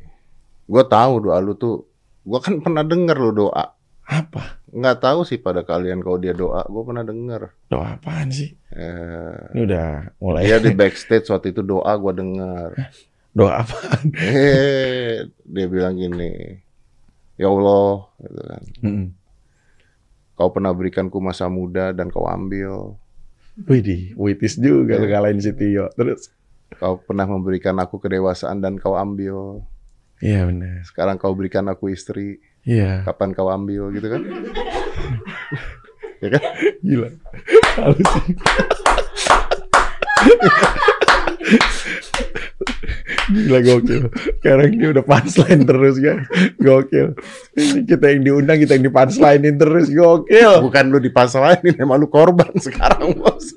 Speaker 1: Gua tahu doa lu tuh. Gua kan pernah denger lu doa.
Speaker 2: Apa?
Speaker 1: Nggak tahu sih pada kalian kalau dia doa. Gua pernah denger.
Speaker 2: Doa apaan sih?
Speaker 1: Eh,
Speaker 2: Ini udah mulai. ya,
Speaker 1: dia di backstage waktu itu doa gua denger.
Speaker 2: Doa apaan?
Speaker 1: Eh, dia bilang gini. Ya Allah, gitu kan.
Speaker 2: Mm-mm.
Speaker 1: Kau pernah berikanku masa muda dan kau ambil.
Speaker 2: Widih, Witis juga lu ngalahin si Tio. Terus?
Speaker 1: Kau pernah memberikan aku kedewasaan dan kau ambil.
Speaker 2: Iya benar.
Speaker 1: Sekarang kau berikan aku istri.
Speaker 2: Iya.
Speaker 1: Kapan kau ambil gitu kan? ya kan?
Speaker 2: Gila. Halus. Gila gokil. Sekarang ini udah punchline terus kan. Gokil. Ini Kita yang diundang, kita yang di punchline-in terus. Gokil.
Speaker 1: Bukan lu dipasrahin, emang lu korban sekarang, Bos.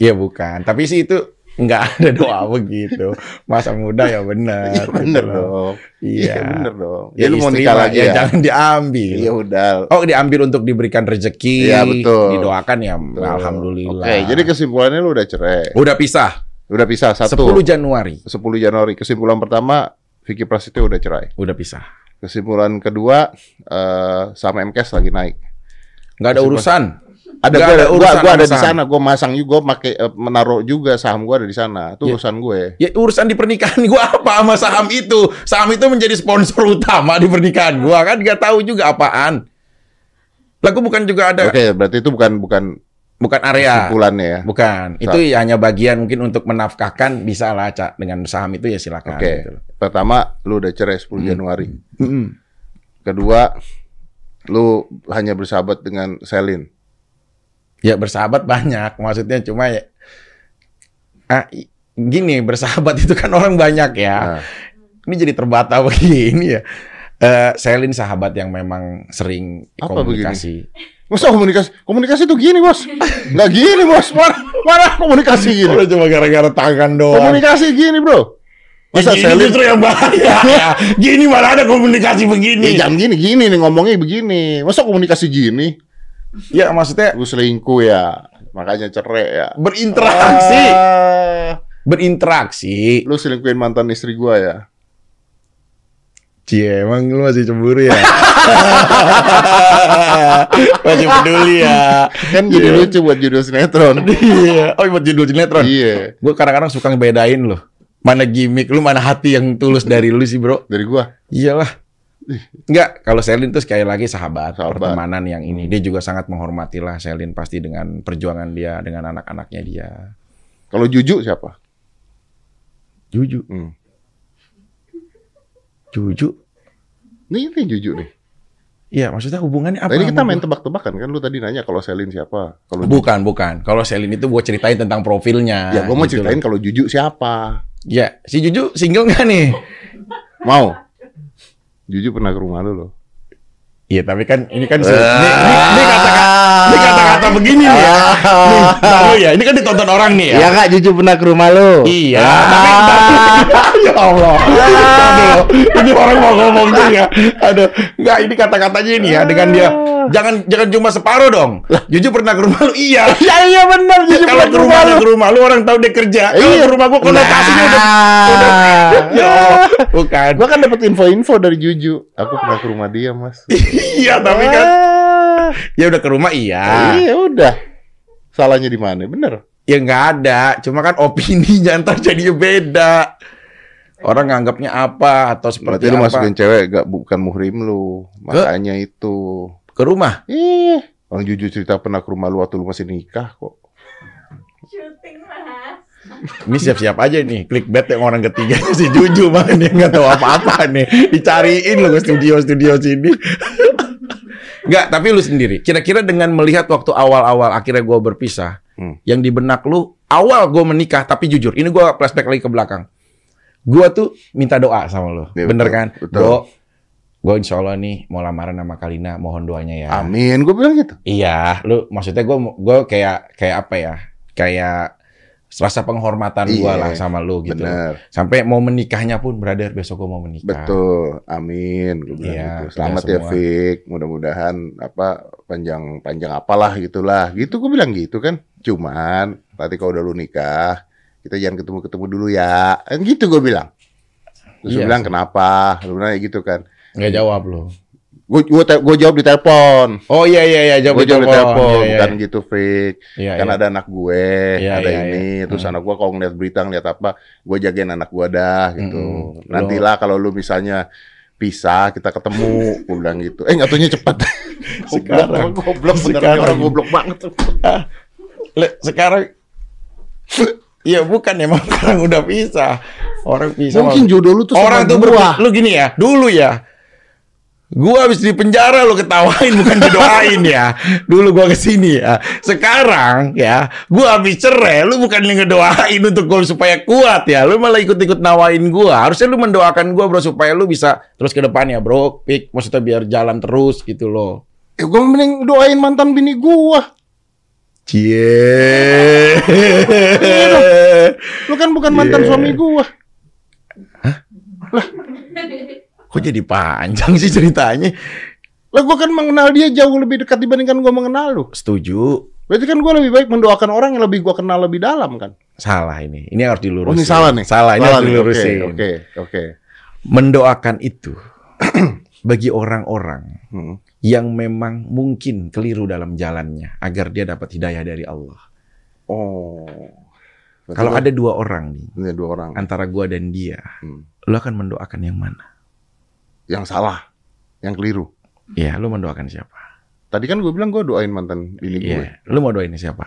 Speaker 2: Iya bukan. Tapi sih itu nggak ada doa begitu. Masa muda ya benar.
Speaker 1: Iya bener
Speaker 2: Gitu loh.
Speaker 1: dong.
Speaker 2: Iya.
Speaker 1: bener dong.
Speaker 2: Ya, lu mau nikah lagi ya, jangan diambil.
Speaker 1: Iya udah.
Speaker 2: Oh diambil untuk diberikan rezeki,
Speaker 1: Iya, betul.
Speaker 2: didoakan ya alhamdulillah.
Speaker 1: Oke, jadi kesimpulannya lu udah cerai.
Speaker 2: udah pisah
Speaker 1: Udah pisah satu.
Speaker 2: 10 Januari
Speaker 1: 10 Januari. Kesimpulan pertama, Vicky Prasetyo udah cerai.
Speaker 2: udah pisah.
Speaker 1: Kesimpulan kedua, eh sama MKS lagi naik.
Speaker 2: Nggak ada
Speaker 1: Masih
Speaker 2: urusan.
Speaker 1: Ada
Speaker 2: Nggak
Speaker 1: gua ada, gua, gua
Speaker 2: sama
Speaker 1: ada di
Speaker 2: saham.
Speaker 1: sana, gua masang juga pakai eh, menaruh juga saham gua ada di sana. Itu
Speaker 2: Iya.
Speaker 1: urusan gue.
Speaker 2: Ya urusan di pernikahan gua apa sama saham itu? Saham itu menjadi sponsor utama di pernikahan gua kan nggak tahu juga apaan. Lagu bukan juga ada Nah.
Speaker 1: Oke, berarti itu bukan bukan
Speaker 2: bukan area.
Speaker 1: kesimpulannya ya.
Speaker 2: Bukan, itu ya hanya bagian mungkin untuk menafkahkan bisa lah Cak dengan saham itu ya silakan.
Speaker 1: Oke.
Speaker 2: gitu loh. Hmm.
Speaker 1: Pertama, lu udah cerai 10 Januari.
Speaker 2: Mm-mm.
Speaker 1: Kedua, lu hanya bersahabat dengan Selin.
Speaker 2: Ya bersahabat banyak, maksudnya cuma ya ah, i- gini bersahabat itu kan orang banyak ya.
Speaker 1: Nah.
Speaker 2: Ini jadi terbata begini ya. Eh Selin sahabat yang memang sering
Speaker 1: Apa
Speaker 2: komunikasi.
Speaker 1: Masa komunikasi? Komunikasi tuh gini, Bos. Nggak gini, Bos. Mana, mana komunikasi gini?
Speaker 2: Udah cuma gara-gara tangan doang.
Speaker 1: Komunikasi gini, Bro. Masa
Speaker 2: Ya, gini
Speaker 1: Selin?
Speaker 2: justru yang bahaya. Iya, ya. Gini malah ada komunikasi begini.
Speaker 1: Ya, jam gini, gini nih ngomongnya begini. Masa komunikasi gini?
Speaker 2: Ya maksudnya
Speaker 1: Lu selingkuh ya. Makanya cerai ya.
Speaker 2: berinteraksi,
Speaker 1: Ah,
Speaker 2: berinteraksi.
Speaker 1: lu selingkuhin mantan istri gua ya.
Speaker 2: Cie, emang lu masih cemburu ya? masih peduli ya?
Speaker 1: Kan jadi
Speaker 2: Iya.
Speaker 1: lucu buat judul sinetron.
Speaker 2: Iya. Oh, buat judul sinetron.
Speaker 1: Iya.
Speaker 2: Gue kadang-kadang suka ngebedain loh. Mana gimmick lu, mana hati yang tulus dari lu sih, Bro.
Speaker 1: Dari gua.
Speaker 2: Iyalah. Enggak, kalau Selin tuh sekali lagi sahabat,
Speaker 1: Sahabat.
Speaker 2: pertemanan yang ini. Dia juga sangat menghormatilah Selin pasti dengan perjuangan dia, dengan anak-anaknya dia.
Speaker 1: Kalau Juju siapa?
Speaker 2: Juju,
Speaker 1: Hmm.
Speaker 2: Juju.
Speaker 1: Nih, ini Juju nih.
Speaker 2: Iya, maksudnya hubungannya apa?
Speaker 1: Tadi kita
Speaker 2: sama
Speaker 1: main
Speaker 2: gua?
Speaker 1: tebak-tebakan kan lu tadi nanya kalau Selin siapa? Kalau Juju.
Speaker 2: Bukan, bukan. Kalau Selin itu gue ceritain tentang profilnya.
Speaker 1: Ya, gua mau
Speaker 2: gitu
Speaker 1: ceritain
Speaker 2: loh.
Speaker 1: kalau Juju siapa.
Speaker 2: Ya, si Juju single nggak nih?
Speaker 1: Mau? Juju pernah ke rumah lu loh.
Speaker 2: Iya, tapi kan ini kan ini, ini- ini kata-kata Ini kata-kata begini nih ya. Nih, bentar dulu ya. Ini kan ditonton orang nih ya.
Speaker 4: Iya kak, Juju pernah ke rumah lo.
Speaker 2: Iya. Tapi ya Allah. Aduh, ini orang mau ngomong juga. Aduh, enggak ini kata-katanya ini ya dengan dia jangan jangan cuma separuh dong. Jujur pernah ke rumah lu? Iya.
Speaker 4: Ya iya benar, Juju
Speaker 2: Kalau
Speaker 4: pernah
Speaker 2: ke rumah lu, ke rumah lu orang tahu dia kerja. Kalau ke rumah gua konotasinya udah
Speaker 4: Nah.
Speaker 2: Ya, Allah. bukan.
Speaker 1: Gua kan dapat info-info dari Juju. Aku pernah ke rumah dia, Mas.
Speaker 2: Iya, tapi kan
Speaker 1: Ah,
Speaker 2: ya udah ke rumah iya.
Speaker 1: Iya, udah. Salahnya di mana? Bener.
Speaker 2: Ya nggak ada, cuma kan opininya ntar jadi beda. Orang nganggapnya apa atau
Speaker 1: Berarti
Speaker 2: seperti
Speaker 1: lu
Speaker 2: apa?
Speaker 1: masukin cewek gak bukan muhrim lu. Makanya itu.
Speaker 2: Ke rumah.
Speaker 1: Ih, orang Juju cerita pernah ke rumah lu waktu lu masih nikah kok.
Speaker 5: syuting mas
Speaker 2: Ini siap-siap aja nih, clickbait yang orang ketiga si Juju banget dia nggak tahu apa-apa nih. Dicariin lu ke studio-studio sini. Nggak, tapi lu sendiri. Kira-kira dengan melihat waktu awal-awal akhirnya gua berpisah,
Speaker 1: Hmm.
Speaker 2: yang di benak lu awal gua menikah, tapi jujur, ini gua flashback lagi ke belakang. Gua tuh minta doa sama lu,
Speaker 1: Iya,
Speaker 2: bener
Speaker 1: betul,
Speaker 2: kan?
Speaker 1: betul.
Speaker 2: Gua, gua insya Allah nih mau lamaran sama Kalina, mohon doanya ya.
Speaker 1: Amin, gue bilang gitu.
Speaker 2: Iya, lu maksudnya gue gue kayak kayak apa ya? Kayak rasa penghormatan gue
Speaker 1: Iya,
Speaker 2: lah sama lu gitu.
Speaker 1: Bener.
Speaker 2: Sampai mau menikahnya pun, brother, besok gue mau menikah.
Speaker 1: Betul, amin. Gua bilang
Speaker 2: Iya,
Speaker 1: gitu. Selamat
Speaker 2: kita
Speaker 1: ya
Speaker 2: semua.
Speaker 1: Fik, mudah-mudahan apa panjang panjang apalah gitulah. Gitu gue bilang gitu kan. Cuman nanti kalau udah lu nikah, kita jangan ketemu-ketemu dulu ya. Kan gitu gue bilang. Terus gua
Speaker 2: Iya
Speaker 1: bilang
Speaker 2: sih.
Speaker 1: kenapa? Lu nanya gitu kan.
Speaker 2: Nggak jawab lu.
Speaker 1: Gue gue jawab di telepon.
Speaker 2: Oh iya iya iya, jawab
Speaker 1: Gue jawab di telepon,
Speaker 2: Iya,
Speaker 1: bukan gitu Fik.
Speaker 2: Iya,
Speaker 1: kan
Speaker 2: iya.
Speaker 1: ada anak gue,
Speaker 2: Iya,
Speaker 1: ada
Speaker 2: iya,
Speaker 1: ini,
Speaker 2: iya.
Speaker 1: terus
Speaker 2: Hmm.
Speaker 1: anak gue kalau ngeliat berita ngeliat apa, gue jagain anak gue dah gitu.
Speaker 2: Mm-mm.
Speaker 1: Nantilah kalau lu misalnya pisah kita ketemu, gue bilang gitu. Eh nggak taunya cepat. Goblok, orang
Speaker 2: Sekarang.
Speaker 1: goblok, beneran
Speaker 2: Sekarang.
Speaker 1: orang goblok banget.
Speaker 2: Le, sekarang Iya bukan emang orang udah pisah. Orang pisah.
Speaker 1: Mungkin
Speaker 2: maksud-
Speaker 1: jodoh lu tuh sama
Speaker 2: orang tuh
Speaker 1: gua.
Speaker 2: berpi- Lu gini ya, dulu ya. Gua habis di penjara lu ketawain bukan didoain ya. Dulu gua kesini ya. Sekarang ya, gua habis cerai lu bukan ngedoain untuk gua supaya kuat ya. Lu malah ikut-ikut nawain gua. Harusnya lu mendoakan gua bro supaya lu bisa terus ke depannya bro. Pik maksudnya biar jalan terus gitu loh.
Speaker 1: Eh, gue mending doain mantan bini gue.
Speaker 2: Cie.
Speaker 1: Iya, Lu kan bukan mantan
Speaker 2: Iya.
Speaker 1: suami gue.
Speaker 2: Kok jadi panjang sih ceritanya?
Speaker 1: Lah gue kan mengenal dia jauh lebih dekat dibandingkan gue mengenal lu.
Speaker 2: Setuju.
Speaker 1: Berarti kan gue lebih baik mendoakan orang yang lebih gue kenal lebih dalam kan.
Speaker 2: Salah ini. Ini harus dilurusin.
Speaker 1: Oh ini salah nih.
Speaker 2: Salah, ini harus
Speaker 1: nih. Oke,
Speaker 2: dilurusin.
Speaker 1: Oke, oke.
Speaker 2: Mendoakan itu bagi orang-orang
Speaker 1: Hmm.
Speaker 2: yang memang mungkin keliru dalam jalannya agar dia dapat hidayah dari Allah.
Speaker 1: Oh. Berarti
Speaker 2: Kalau
Speaker 1: lu-
Speaker 2: ada dua orang nih
Speaker 1: Ini dua orang
Speaker 2: antara gua dan dia,
Speaker 1: Hmm.
Speaker 2: lo akan mendoakan yang mana?
Speaker 1: yang salah, yang keliru.
Speaker 2: Ya, lo mendoakan siapa?
Speaker 1: Tadi kan gue bilang gue doain mantan bini gue,
Speaker 2: Iya, lo mau doain siapa?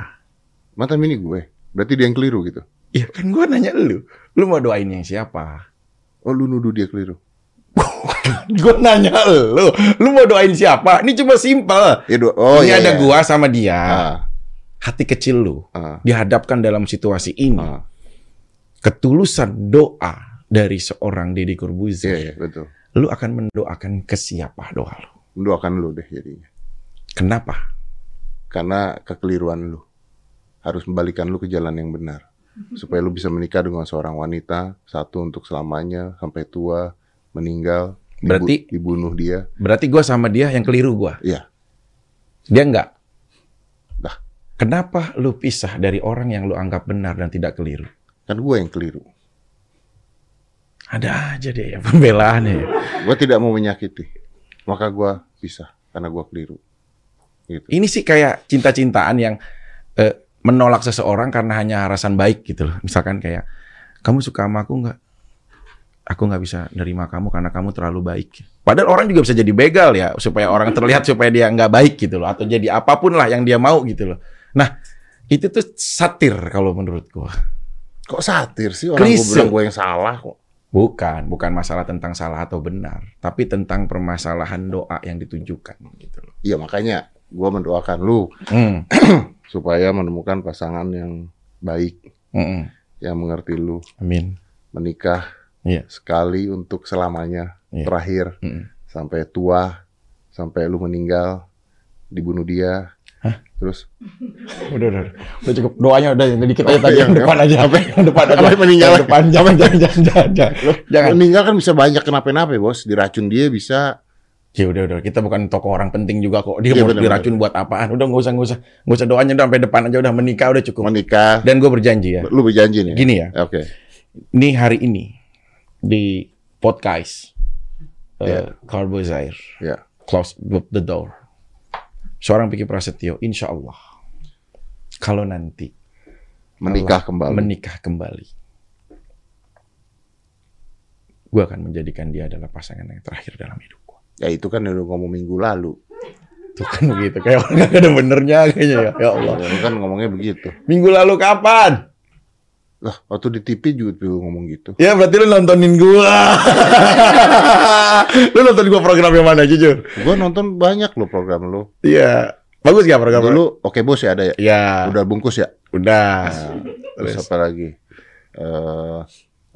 Speaker 1: mantan bini gue. Berarti dia yang keliru gitu.
Speaker 2: Iya kan gua nanya lu, lu mau doain yang siapa?
Speaker 1: Oh lu nuduh dia keliru.
Speaker 2: Gua nanya lu, lu mau doain siapa? Ini cuma simple.
Speaker 1: Ya, dua- oh
Speaker 2: ini
Speaker 1: iya,
Speaker 2: ada
Speaker 1: iya.
Speaker 2: gua sama dia.
Speaker 1: Ah,
Speaker 2: Hati kecil lu
Speaker 1: ah,
Speaker 2: dihadapkan dalam situasi ini.
Speaker 1: ah.
Speaker 2: ketulusan doa dari seorang Deddy
Speaker 1: Iya,
Speaker 2: Corbuzier,
Speaker 1: iya, betul.
Speaker 2: lu akan mendoakan ke siapa doa lu?
Speaker 1: Mendoakan lu deh jadinya.
Speaker 2: Kenapa?
Speaker 1: Karena kekeliruan lu harus membalikan lu ke jalan yang benar supaya lu bisa menikah dengan seorang wanita satu untuk selamanya sampai tua meninggal dibu-
Speaker 2: Berarti-
Speaker 1: dibunuh dia
Speaker 2: Berarti gua sama dia yang keliru gua.
Speaker 1: Iya.
Speaker 2: Dia enggak.
Speaker 1: Lah.
Speaker 2: Kenapa lu pisah dari orang yang lu anggap benar dan tidak keliru?
Speaker 1: kan gue yang keliru
Speaker 2: Ada aja deh ya pembelaannya. ya.
Speaker 1: gue tidak mau menyakiti maka gue pisah karena gue keliru gitu
Speaker 2: Ini sih kayak cinta-cintaan yang eh, menolak seseorang karena hanya harasan baik gitu loh. Misalkan kayak kamu suka sama aku nggak? Aku nggak bisa nerima kamu karena kamu terlalu baik. Padahal orang juga bisa jadi begal ya supaya orang terlihat supaya dia nggak baik gitu loh atau jadi apapun lah yang dia mau gitu loh. Nah itu tuh satir kalau menurut gua.
Speaker 1: Kok satir sih orang gue
Speaker 2: Klise.
Speaker 1: bilang gue yang salah kok.
Speaker 2: Bukan, bukan masalah tentang salah atau benar, tapi tentang permasalahan doa yang ditujukan gitu loh.
Speaker 1: Iya makanya gue mendoakan lu
Speaker 2: Hmm,
Speaker 1: supaya menemukan pasangan yang baik,
Speaker 2: mm-mm.
Speaker 1: yang mengerti lu,
Speaker 2: Amin.
Speaker 1: menikah
Speaker 2: Iya.
Speaker 1: sekali untuk selamanya,
Speaker 2: Iya.
Speaker 1: terakhir
Speaker 2: Mm-mm.
Speaker 1: sampai tua, sampai lu meninggal, dibunuh dia, Terus
Speaker 2: Udah, udah, udah. Udah cukup. Doanya udah yang dikit aja tadi
Speaker 1: Apa
Speaker 2: yang
Speaker 1: yang-
Speaker 2: depan aja. Apa yang depan
Speaker 1: Oh, iya,
Speaker 2: aja.
Speaker 1: Apa yang meninggal?
Speaker 2: Yang depan. Jangan, jangan, jangan, jangan. jangan. Jangan.
Speaker 1: meninggal kan bisa banyak kenapa-napa ya, bos. Diracun dia bisa.
Speaker 2: Ya udah, udah. Kita bukan tokoh orang penting juga kok. Dia
Speaker 1: Iya,
Speaker 2: mau
Speaker 1: benar,
Speaker 2: diracun buat apaan? Udah nggak usah, nggak usah. Nggak usah doanya udah sampai depan aja. Udah menikah, udah cukup.
Speaker 1: Menikah.
Speaker 2: Dan gue berjanji ya.
Speaker 1: Lu berjanji nih.
Speaker 2: Gini ya.
Speaker 1: Oke.
Speaker 2: Ini hari ini di podcast
Speaker 1: Iya.
Speaker 2: eh, Carbozair
Speaker 1: Ya.
Speaker 2: close the door. Seorang Piki Prasetyo, insya Allah, kalau nanti
Speaker 1: Menikah
Speaker 2: Allah
Speaker 1: kembali.
Speaker 2: Menikah kembali. Gue akan menjadikan dia adalah pasangan yang terakhir dalam hidup gue.
Speaker 1: ya itu kan yang lu ngomong minggu lalu.
Speaker 2: Tuh kan begitu. Kayak orang gak ada benernya kayaknya ya. Ya Allah.
Speaker 1: Lu kan ngomongnya begitu.
Speaker 2: Minggu lalu kapan?
Speaker 1: Lah, waktu di TV juga lu ngomong gitu.
Speaker 2: Ya berarti lu nontonin gue. lu nonton gue program yang mana jujur?
Speaker 1: Gua nonton banyak lo program lu.
Speaker 2: Iya. Bagus gak program lu?
Speaker 1: Dulu oke bos ya ada ya.
Speaker 2: Ya.
Speaker 1: Udah bungkus ya.
Speaker 2: Udah.
Speaker 1: Terus
Speaker 2: Terus.
Speaker 1: apa lagi? Eh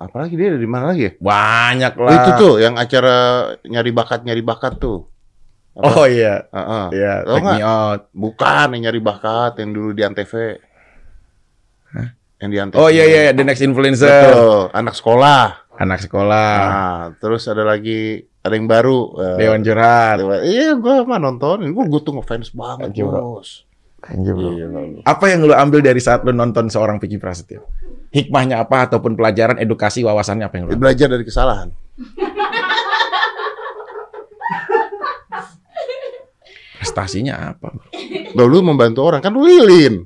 Speaker 1: apa lagi dia dari mana lagi? ya?
Speaker 2: Banyak
Speaker 1: Oh,
Speaker 2: lah.
Speaker 1: itu tuh yang acara nyari bakat nyari bakat tuh.
Speaker 2: Oh iya.
Speaker 1: Heeh.
Speaker 2: Iya.
Speaker 1: Tau
Speaker 2: Take me out.
Speaker 1: Bukan yang nyari bakat yang dulu di Antv. Yang di Antv.
Speaker 2: Oh iya iya. The next influencer. Ah.
Speaker 1: Betul, anak sekolah.
Speaker 2: Anak sekolah.
Speaker 1: Nah, terus ada lagi ada yang baru. eh,
Speaker 2: Dewan curhat.
Speaker 1: Dewan- Iya, gua mah nontonin. Gua gua tuh ngefans banget,
Speaker 2: Thank you, bro.
Speaker 1: Bos.
Speaker 2: Iya, Bang. Apa yang lu ambil dari saat lu nonton seorang Vicky Prasetyo? Hikmahnya apa ataupun pelajaran edukasi wawasannya apa yang lu? ambil?
Speaker 1: Belajar dari kesalahan.
Speaker 2: Prestasinya apa? bro?
Speaker 1: Loh, lu membantu orang kan lu lilin.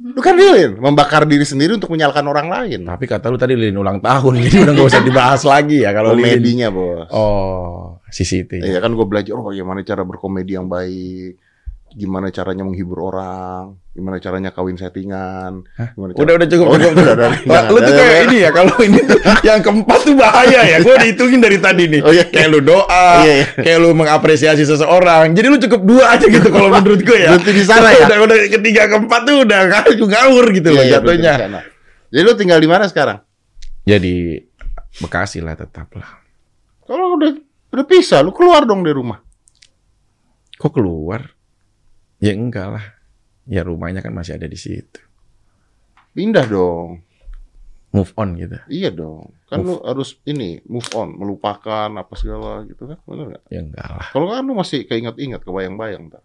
Speaker 1: Lu kan lilin, membakar diri sendiri untuk menyalahkan orang lain.
Speaker 2: Tapi kata lu tadi lilin ulang tahun, jadi udah gak usah dibahas lagi ya kalau lilin.
Speaker 1: Komedinya, Bos.
Speaker 2: Oh, sisi itu. ya.
Speaker 1: Iya kan gue belajar oh gimana cara berkomedi yang baik, gimana caranya menghibur orang, gimana caranya kawin settingan, gimana cara-
Speaker 2: Udah udah cukup
Speaker 1: Oh,
Speaker 2: cukup.
Speaker 1: udah, udah, udah.
Speaker 2: Wah, lu tuh
Speaker 1: Jangan,
Speaker 2: kayak
Speaker 1: jangan.
Speaker 2: ini ya kalau ini tuh yang keempat tuh bahaya ya. Gue dihitungin dari tadi nih.
Speaker 1: Oh, iya.
Speaker 2: Kayak lu doa,
Speaker 1: Iya, iya.
Speaker 2: kayak lu mengapresiasi seseorang. Jadi lu cukup dua aja gitu kalau menurut gue ya.
Speaker 1: Berhenti di sana ya?
Speaker 2: Udah, udah ketiga keempat tuh udah ngawur ngawur gitu
Speaker 1: Iya,
Speaker 2: loh
Speaker 1: iya,
Speaker 2: jatuhnya.
Speaker 1: berarti di sana. Jadi lu tinggal di mana sekarang?
Speaker 2: Jadi Ya, Bekasi lah tetap lah.
Speaker 1: Kalau udah udah pisah, lu keluar dong dari rumah.
Speaker 2: Kok keluar? Ya enggak lah. Ya rumahnya kan masih ada di situ.
Speaker 1: Pindah dong.
Speaker 2: Move on gitu.
Speaker 1: Iya dong. Kan lu harus ini move on, melupakan apa segala gitu kan. Benar nggak?
Speaker 2: Ya enggak lah.
Speaker 1: Kalau kan lu masih keinget-inget, kebayang-bayang tak?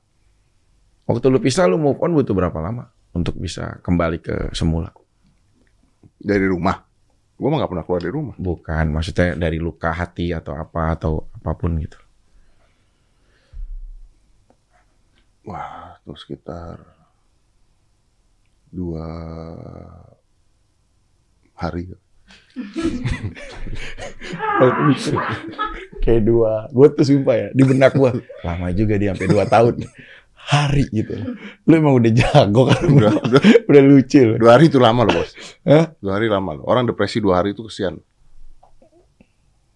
Speaker 2: Waktu lu pisah lu move on butuh berapa lama untuk bisa kembali ke semula?
Speaker 1: Dari rumah. Gua mah nggak pernah keluar dari rumah.
Speaker 2: Bukan, maksudnya dari luka hati atau apa atau apapun gitu.
Speaker 1: Wah, tuh sekitar dua hari.
Speaker 2: Oh, Kayak dua, gue tuh sumpah ya di benak gue lama juga dia sampai dua tahun hari gitu. Lu emang udah jago kan,
Speaker 1: Udah, udah.
Speaker 2: udah lucu. lu.
Speaker 1: Dua hari itu lama loh bos.
Speaker 2: Hah?
Speaker 1: Dua hari lama loh. Orang depresi dua hari itu kesian.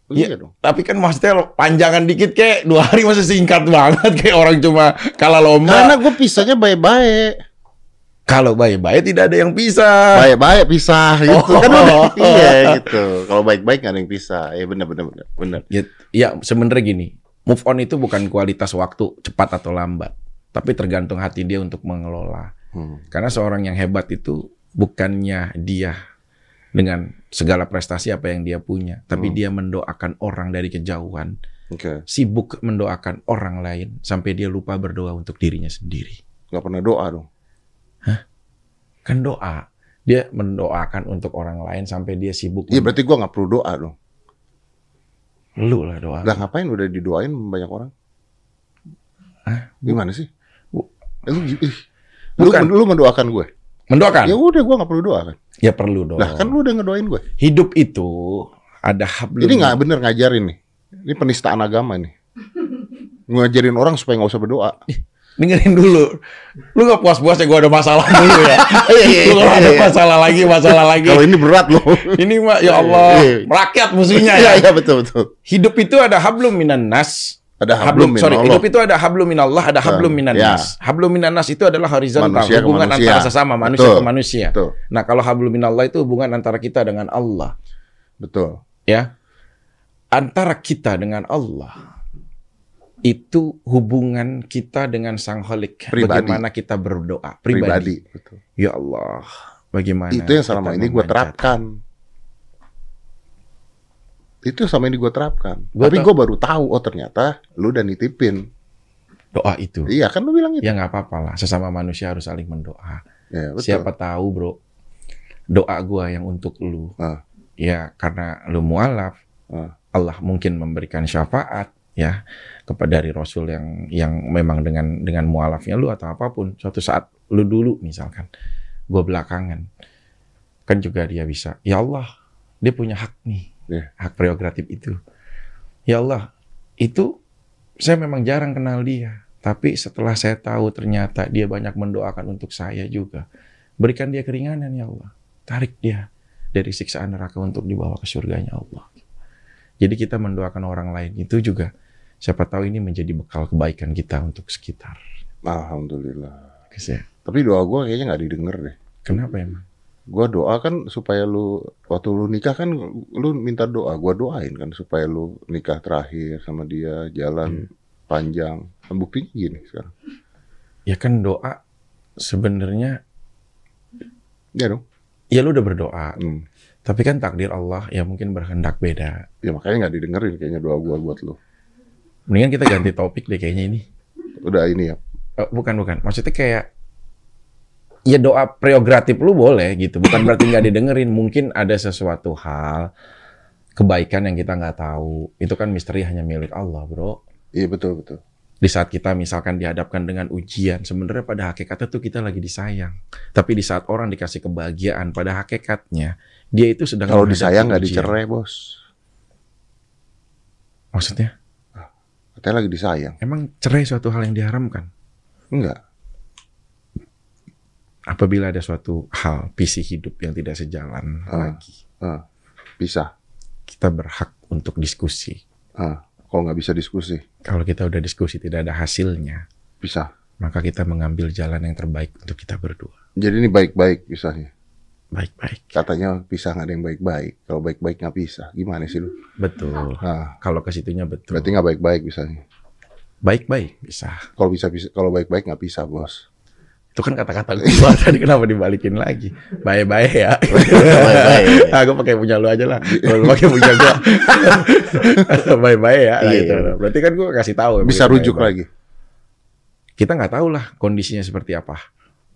Speaker 1: Oh,
Speaker 2: Iya.
Speaker 1: Iya dong.
Speaker 2: Tapi kan maksudnya lo- panjangan dikit kayak dua hari masa singkat banget kayak orang cuma kalah
Speaker 1: Karena
Speaker 2: lomba.
Speaker 1: gue pisahnya baik-baik.
Speaker 2: Kalau baik-baik tidak ada yang pisah.
Speaker 1: Baik-baik pisah gitu.
Speaker 2: Oh.
Speaker 1: Kan udah, iya gitu. Kalau baik-baik gak ada yang pisah. Ya bener bener bener. bener.
Speaker 2: Ya, ya sebenarnya gini, move on itu bukan kualitas waktu cepat atau lambat, tapi tergantung hati dia untuk mengelola.
Speaker 1: Hmm.
Speaker 2: Karena seorang yang hebat itu bukannya dia dengan segala prestasi apa yang dia punya,
Speaker 1: Hmm.
Speaker 2: tapi dia mendoakan orang dari kejauhan,
Speaker 1: Oke.
Speaker 2: sibuk mendoakan orang lain sampai dia lupa berdoa untuk dirinya sendiri.
Speaker 1: Gak pernah doa dong.
Speaker 2: Kan doa, dia mendoakan untuk orang lain sampai dia sibuk.
Speaker 1: Iya berarti gue gak perlu doa dong.
Speaker 2: Lu lah doa.
Speaker 1: Lah ngapain udah didoain banyak orang?
Speaker 2: Hah?
Speaker 1: Gimana sih?
Speaker 2: Bu-
Speaker 1: Eh, Lu, ih. lu,
Speaker 2: Bukan.
Speaker 1: lu mendoakan gue. Ya
Speaker 2: Mendoakan?
Speaker 1: udah gue gak perlu doa kan.
Speaker 2: Ya perlu doa.
Speaker 1: Lah kan lu udah ngedoain gue.
Speaker 2: Hidup itu ada hablum.
Speaker 1: Ini nggak bener ngajarin nih. Ini penistaan agama nih. Ngajarin orang supaya nggak usah berdoa.
Speaker 2: Iya. dengerin dulu. Lu gak puas-puas ya gue ada masalah dulu ya.
Speaker 1: Iya,
Speaker 2: Lu kalau ada masalah lagi, masalah lagi.
Speaker 1: Kalau ini berat loh.
Speaker 2: Ini mah ya Allah,
Speaker 1: Iya.
Speaker 2: rakyat musuhnya ya.
Speaker 1: Iya iya betul betul.
Speaker 2: Hidup itu ada hablum minan nas.
Speaker 1: Ada hablum
Speaker 2: Ah, sorry,
Speaker 1: minallah.
Speaker 2: hidup itu ada hablum minallah, ada hablum
Speaker 1: Betul.
Speaker 2: minan
Speaker 1: Ya.
Speaker 2: nas. Hablum minan nas itu adalah horizontal,
Speaker 1: Manusia ke
Speaker 2: hubungan
Speaker 1: manusia.
Speaker 2: antara sesama manusia
Speaker 1: Betul.
Speaker 2: ke manusia.
Speaker 1: Betul
Speaker 2: Nah, kalau hablum minallah itu hubungan antara kita dengan Allah,
Speaker 1: betul.
Speaker 2: ya. Antara kita dengan Allah itu hubungan kita dengan Sang Holik.
Speaker 1: Pribadi.
Speaker 2: Bagaimana kita berdoa pribadi.
Speaker 1: pribadi. Betul.
Speaker 2: Ya Allah, bagaimana?
Speaker 1: Itu yang selama
Speaker 2: kita
Speaker 1: ini gue
Speaker 2: memanjat-
Speaker 1: terapkan. Itu yang selama ini gue terapkan.
Speaker 2: Gua
Speaker 1: Tapi
Speaker 2: tau.
Speaker 1: gue baru tahu, oh ternyata lu udah nitipin.
Speaker 2: Doa itu.
Speaker 1: Iya kan lu bilang itu.
Speaker 2: Ya nggak apa-apa lah. Sesama manusia harus saling mendoa.
Speaker 1: Ya, betul.
Speaker 2: Siapa tahu bro, doa gua yang untuk lu.
Speaker 1: Ah.
Speaker 2: Ya karena lu mualaf,
Speaker 1: Ah.
Speaker 2: Allah mungkin memberikan syafaat ya kepada dari Rasul yang yang memang dengan dengan mualafnya lu atau apapun. Suatu saat lu dulu misalkan, gua belakangan, kan juga dia bisa. Ya Allah, dia punya hak nih,
Speaker 1: Iya.
Speaker 2: hak prerogatif itu. Ya Allah, itu saya memang jarang kenal dia. Tapi setelah saya tahu ternyata dia banyak mendoakan untuk saya juga. Berikan dia keringanan ya Allah. Tarik dia dari siksaan neraka untuk dibawa ke surganya Allah. Jadi kita mendoakan orang lain itu juga siapa tahu ini menjadi bekal kebaikan kita untuk sekitar.
Speaker 1: Alhamdulillah.
Speaker 2: Guys, ya.
Speaker 1: Tapi doa gue kayaknya nggak didengar deh.
Speaker 2: Kenapa emang?
Speaker 1: Gue doa kan supaya lu waktu lu nikah kan lu minta doa. Gue doain kan supaya lu nikah terakhir sama dia jalan panjang. Kan Buktinya gini sekarang.
Speaker 2: Ya kan doa sebenarnya
Speaker 1: Ya dong.
Speaker 2: ya lu udah berdoa,
Speaker 1: Hmm.
Speaker 2: tapi kan takdir Allah ya mungkin berhendak beda.
Speaker 1: Ya makanya nggak didengerin kayaknya doa gue buat lu.
Speaker 2: Mendingan kita ganti topik deh kayaknya ini.
Speaker 1: Udah ini ya.
Speaker 2: Eh, bukan bukan maksudnya kayak ya doa prerogatif lu boleh gitu bukan berarti nggak didengerin mungkin ada sesuatu hal kebaikan yang kita nggak tahu itu kan misteri hanya milik Allah bro
Speaker 1: Iya betul betul.
Speaker 2: di saat kita misalkan dihadapkan dengan ujian sebenarnya pada hakikatnya tuh kita lagi disayang tapi di saat orang dikasih kebahagiaan pada hakikatnya dia itu sedang
Speaker 1: Kalau
Speaker 2: menghadapi
Speaker 1: disayang nggak
Speaker 2: ujian.
Speaker 1: dicerai bos.
Speaker 2: maksudnya
Speaker 1: Katanya lagi disayang.
Speaker 2: emang cerai suatu hal yang diharamkan
Speaker 1: Enggak.
Speaker 2: apabila ada suatu hal visi hidup yang tidak sejalan
Speaker 1: Ah.
Speaker 2: lagi
Speaker 1: Bisa. Ah.
Speaker 2: kita berhak untuk diskusi.
Speaker 1: Kalau nggak bisa diskusi.
Speaker 2: Kalau kita udah diskusi tidak ada hasilnya,
Speaker 1: Bisa.
Speaker 2: maka kita mengambil jalan yang terbaik untuk kita berdua.
Speaker 1: Jadi ini baik-baik pisahnya.
Speaker 2: Baik-baik.
Speaker 1: Katanya pisah nggak ada yang baik-baik. Kalau baik-baik nggak pisah. Gimana sih lu?
Speaker 2: Betul.
Speaker 1: Ah,
Speaker 2: Kalau ke situnya betul.
Speaker 1: berarti nggak baik-baik pisahnya.
Speaker 2: Baik-baik bisa.
Speaker 1: Kalau bisa, bisa kalau baik-baik nggak pisah bos.
Speaker 2: Itu kan kata-kata gua tadi kenapa dibalikin lagi? Baik-baik ya.
Speaker 4: Baik-baik.
Speaker 2: ah, gua pakai punya lu aja lah. Kalau lu pakai punya gua. Baik-baik ya. Nah,
Speaker 4: Iya.
Speaker 2: gitu. Berarti kan gua kasih tahu.
Speaker 1: Bisa
Speaker 2: begitu,
Speaker 1: rujuk
Speaker 2: baik-baik.
Speaker 1: lagi.
Speaker 2: Kita nggak tahu lah kondisinya seperti apa.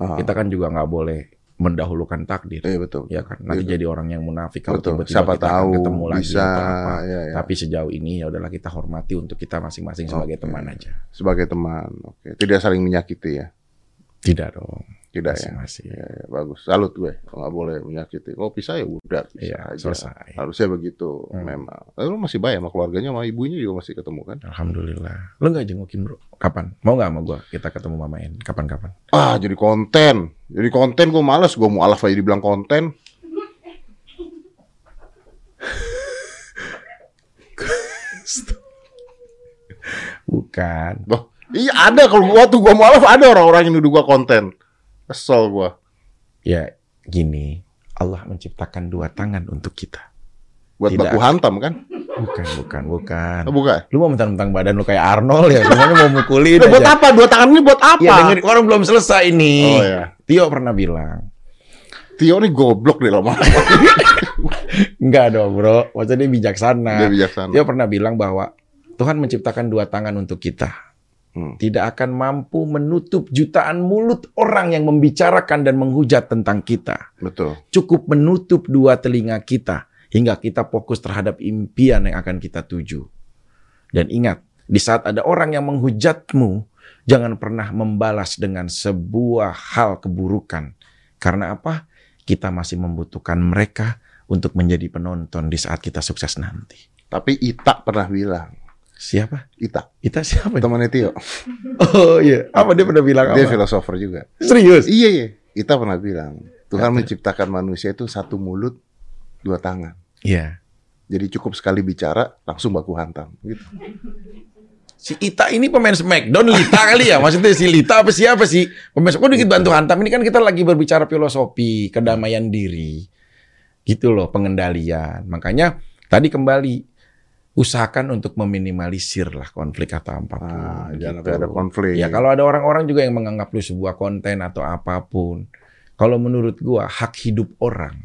Speaker 1: Ah,
Speaker 2: Kita kan juga nggak boleh mendahulukan takdir.
Speaker 1: Iya betul.
Speaker 2: ya kan nanti
Speaker 1: Iya.
Speaker 2: jadi orang yang munafik kalau
Speaker 1: Betul.
Speaker 2: tiba-tiba
Speaker 1: Siapa
Speaker 2: kita akan
Speaker 1: tahu
Speaker 2: ketemu lagi
Speaker 1: bisa.
Speaker 2: atau apa
Speaker 1: ya, ya.
Speaker 2: tapi sejauh ini ya udahlah kita hormati untuk kita masing-masing sebagai
Speaker 1: Oke.
Speaker 2: teman aja
Speaker 1: Sebagai teman. Oke. Tidak saling menyakiti ya.
Speaker 2: tidak dong
Speaker 1: Tidak ya.
Speaker 2: masing-masing
Speaker 1: Ya, ya, bagus. Salut gue. Kalau nggak boleh menyakiti. Kalau pisah ya udah. Pisah
Speaker 2: Iya,
Speaker 1: aja.
Speaker 2: selesai
Speaker 1: Harusnya begitu
Speaker 2: Hmm.
Speaker 1: memang. Lalu lu masih baik sama keluarganya sama ibunya juga masih ketemu kan?
Speaker 2: alhamdulillah lu nggak jengukin bro kapan mau nggak sama gua kita ketemu mama En kapan-kapan
Speaker 1: Ah, jadi konten. Jadi konten gue males, gue mau alaf aja dibilang konten.
Speaker 2: bukan
Speaker 1: Loh, iya ada kalau gua tuh gua mau alaf ada orang-orang yang nuduh gua konten. Kesel gua.
Speaker 2: ya gini Allah menciptakan dua tangan untuk kita
Speaker 1: Buat
Speaker 2: Tidak.
Speaker 1: baku hantam kan?
Speaker 2: bukan bukan bukan
Speaker 1: Ah, Bukan.
Speaker 2: lu mau mentang-mentang badan lu kayak Arnold ya semuanya mau mukulin
Speaker 1: Udah Eh, buat
Speaker 2: aja
Speaker 1: apa? Dua tangan ini buat apa?
Speaker 2: ya dengerin orang belum selesai ini
Speaker 1: Oh ya.
Speaker 2: Tio pernah bilang
Speaker 1: Tio ini goblok deh lama.
Speaker 2: Enggak dong bro, maksudnya dia bijaksana.
Speaker 1: Dia
Speaker 2: Dia,
Speaker 1: bijaksana.
Speaker 2: pernah bilang bahwa Tuhan menciptakan dua tangan untuk kita.
Speaker 1: Hmm.
Speaker 2: Tidak akan mampu menutup jutaan mulut orang yang membicarakan dan menghujat tentang kita.
Speaker 1: Betul.
Speaker 2: Cukup menutup dua telinga kita hingga kita fokus terhadap impian yang akan kita tuju. Dan ingat, di saat ada orang yang menghujatmu, jangan pernah membalas dengan sebuah hal keburukan. Karena apa? Kita masih membutuhkan mereka untuk menjadi penonton di saat kita sukses nanti.
Speaker 1: Tapi Ita pernah bilang,
Speaker 2: Siapa?
Speaker 1: Ita,
Speaker 2: Kita siapa?
Speaker 1: temannya Tio.
Speaker 2: Oh iya, apa dia pernah bilang
Speaker 1: Dia
Speaker 2: apa?
Speaker 1: filosofer juga.
Speaker 2: Serius?
Speaker 1: Iya, iya. Ita pernah bilang, Tuhan menciptakan manusia itu satu mulut, dua tangan.
Speaker 2: Iya.
Speaker 1: Jadi cukup sekali bicara, langsung baku hantam. Gitu.
Speaker 2: Si Ita ini pemain Smackdown Lita kali ya? Maksudnya si Lita apa siapa sih? Pemain Smackdown dikit bantu hantam. Ini kan kita lagi berbicara filosofi, kedamaian diri. Gitu loh, pengendalian. Makanya tadi kembali usahakan untuk meminimalisir lah konflik atau apapun.
Speaker 1: Ah, jangan
Speaker 2: gitu.
Speaker 1: sampai ada konflik.
Speaker 2: Ya kalau ada orang-orang juga yang menganggap lu sebuah konten atau apapun. Kalau menurut gua hak hidup orang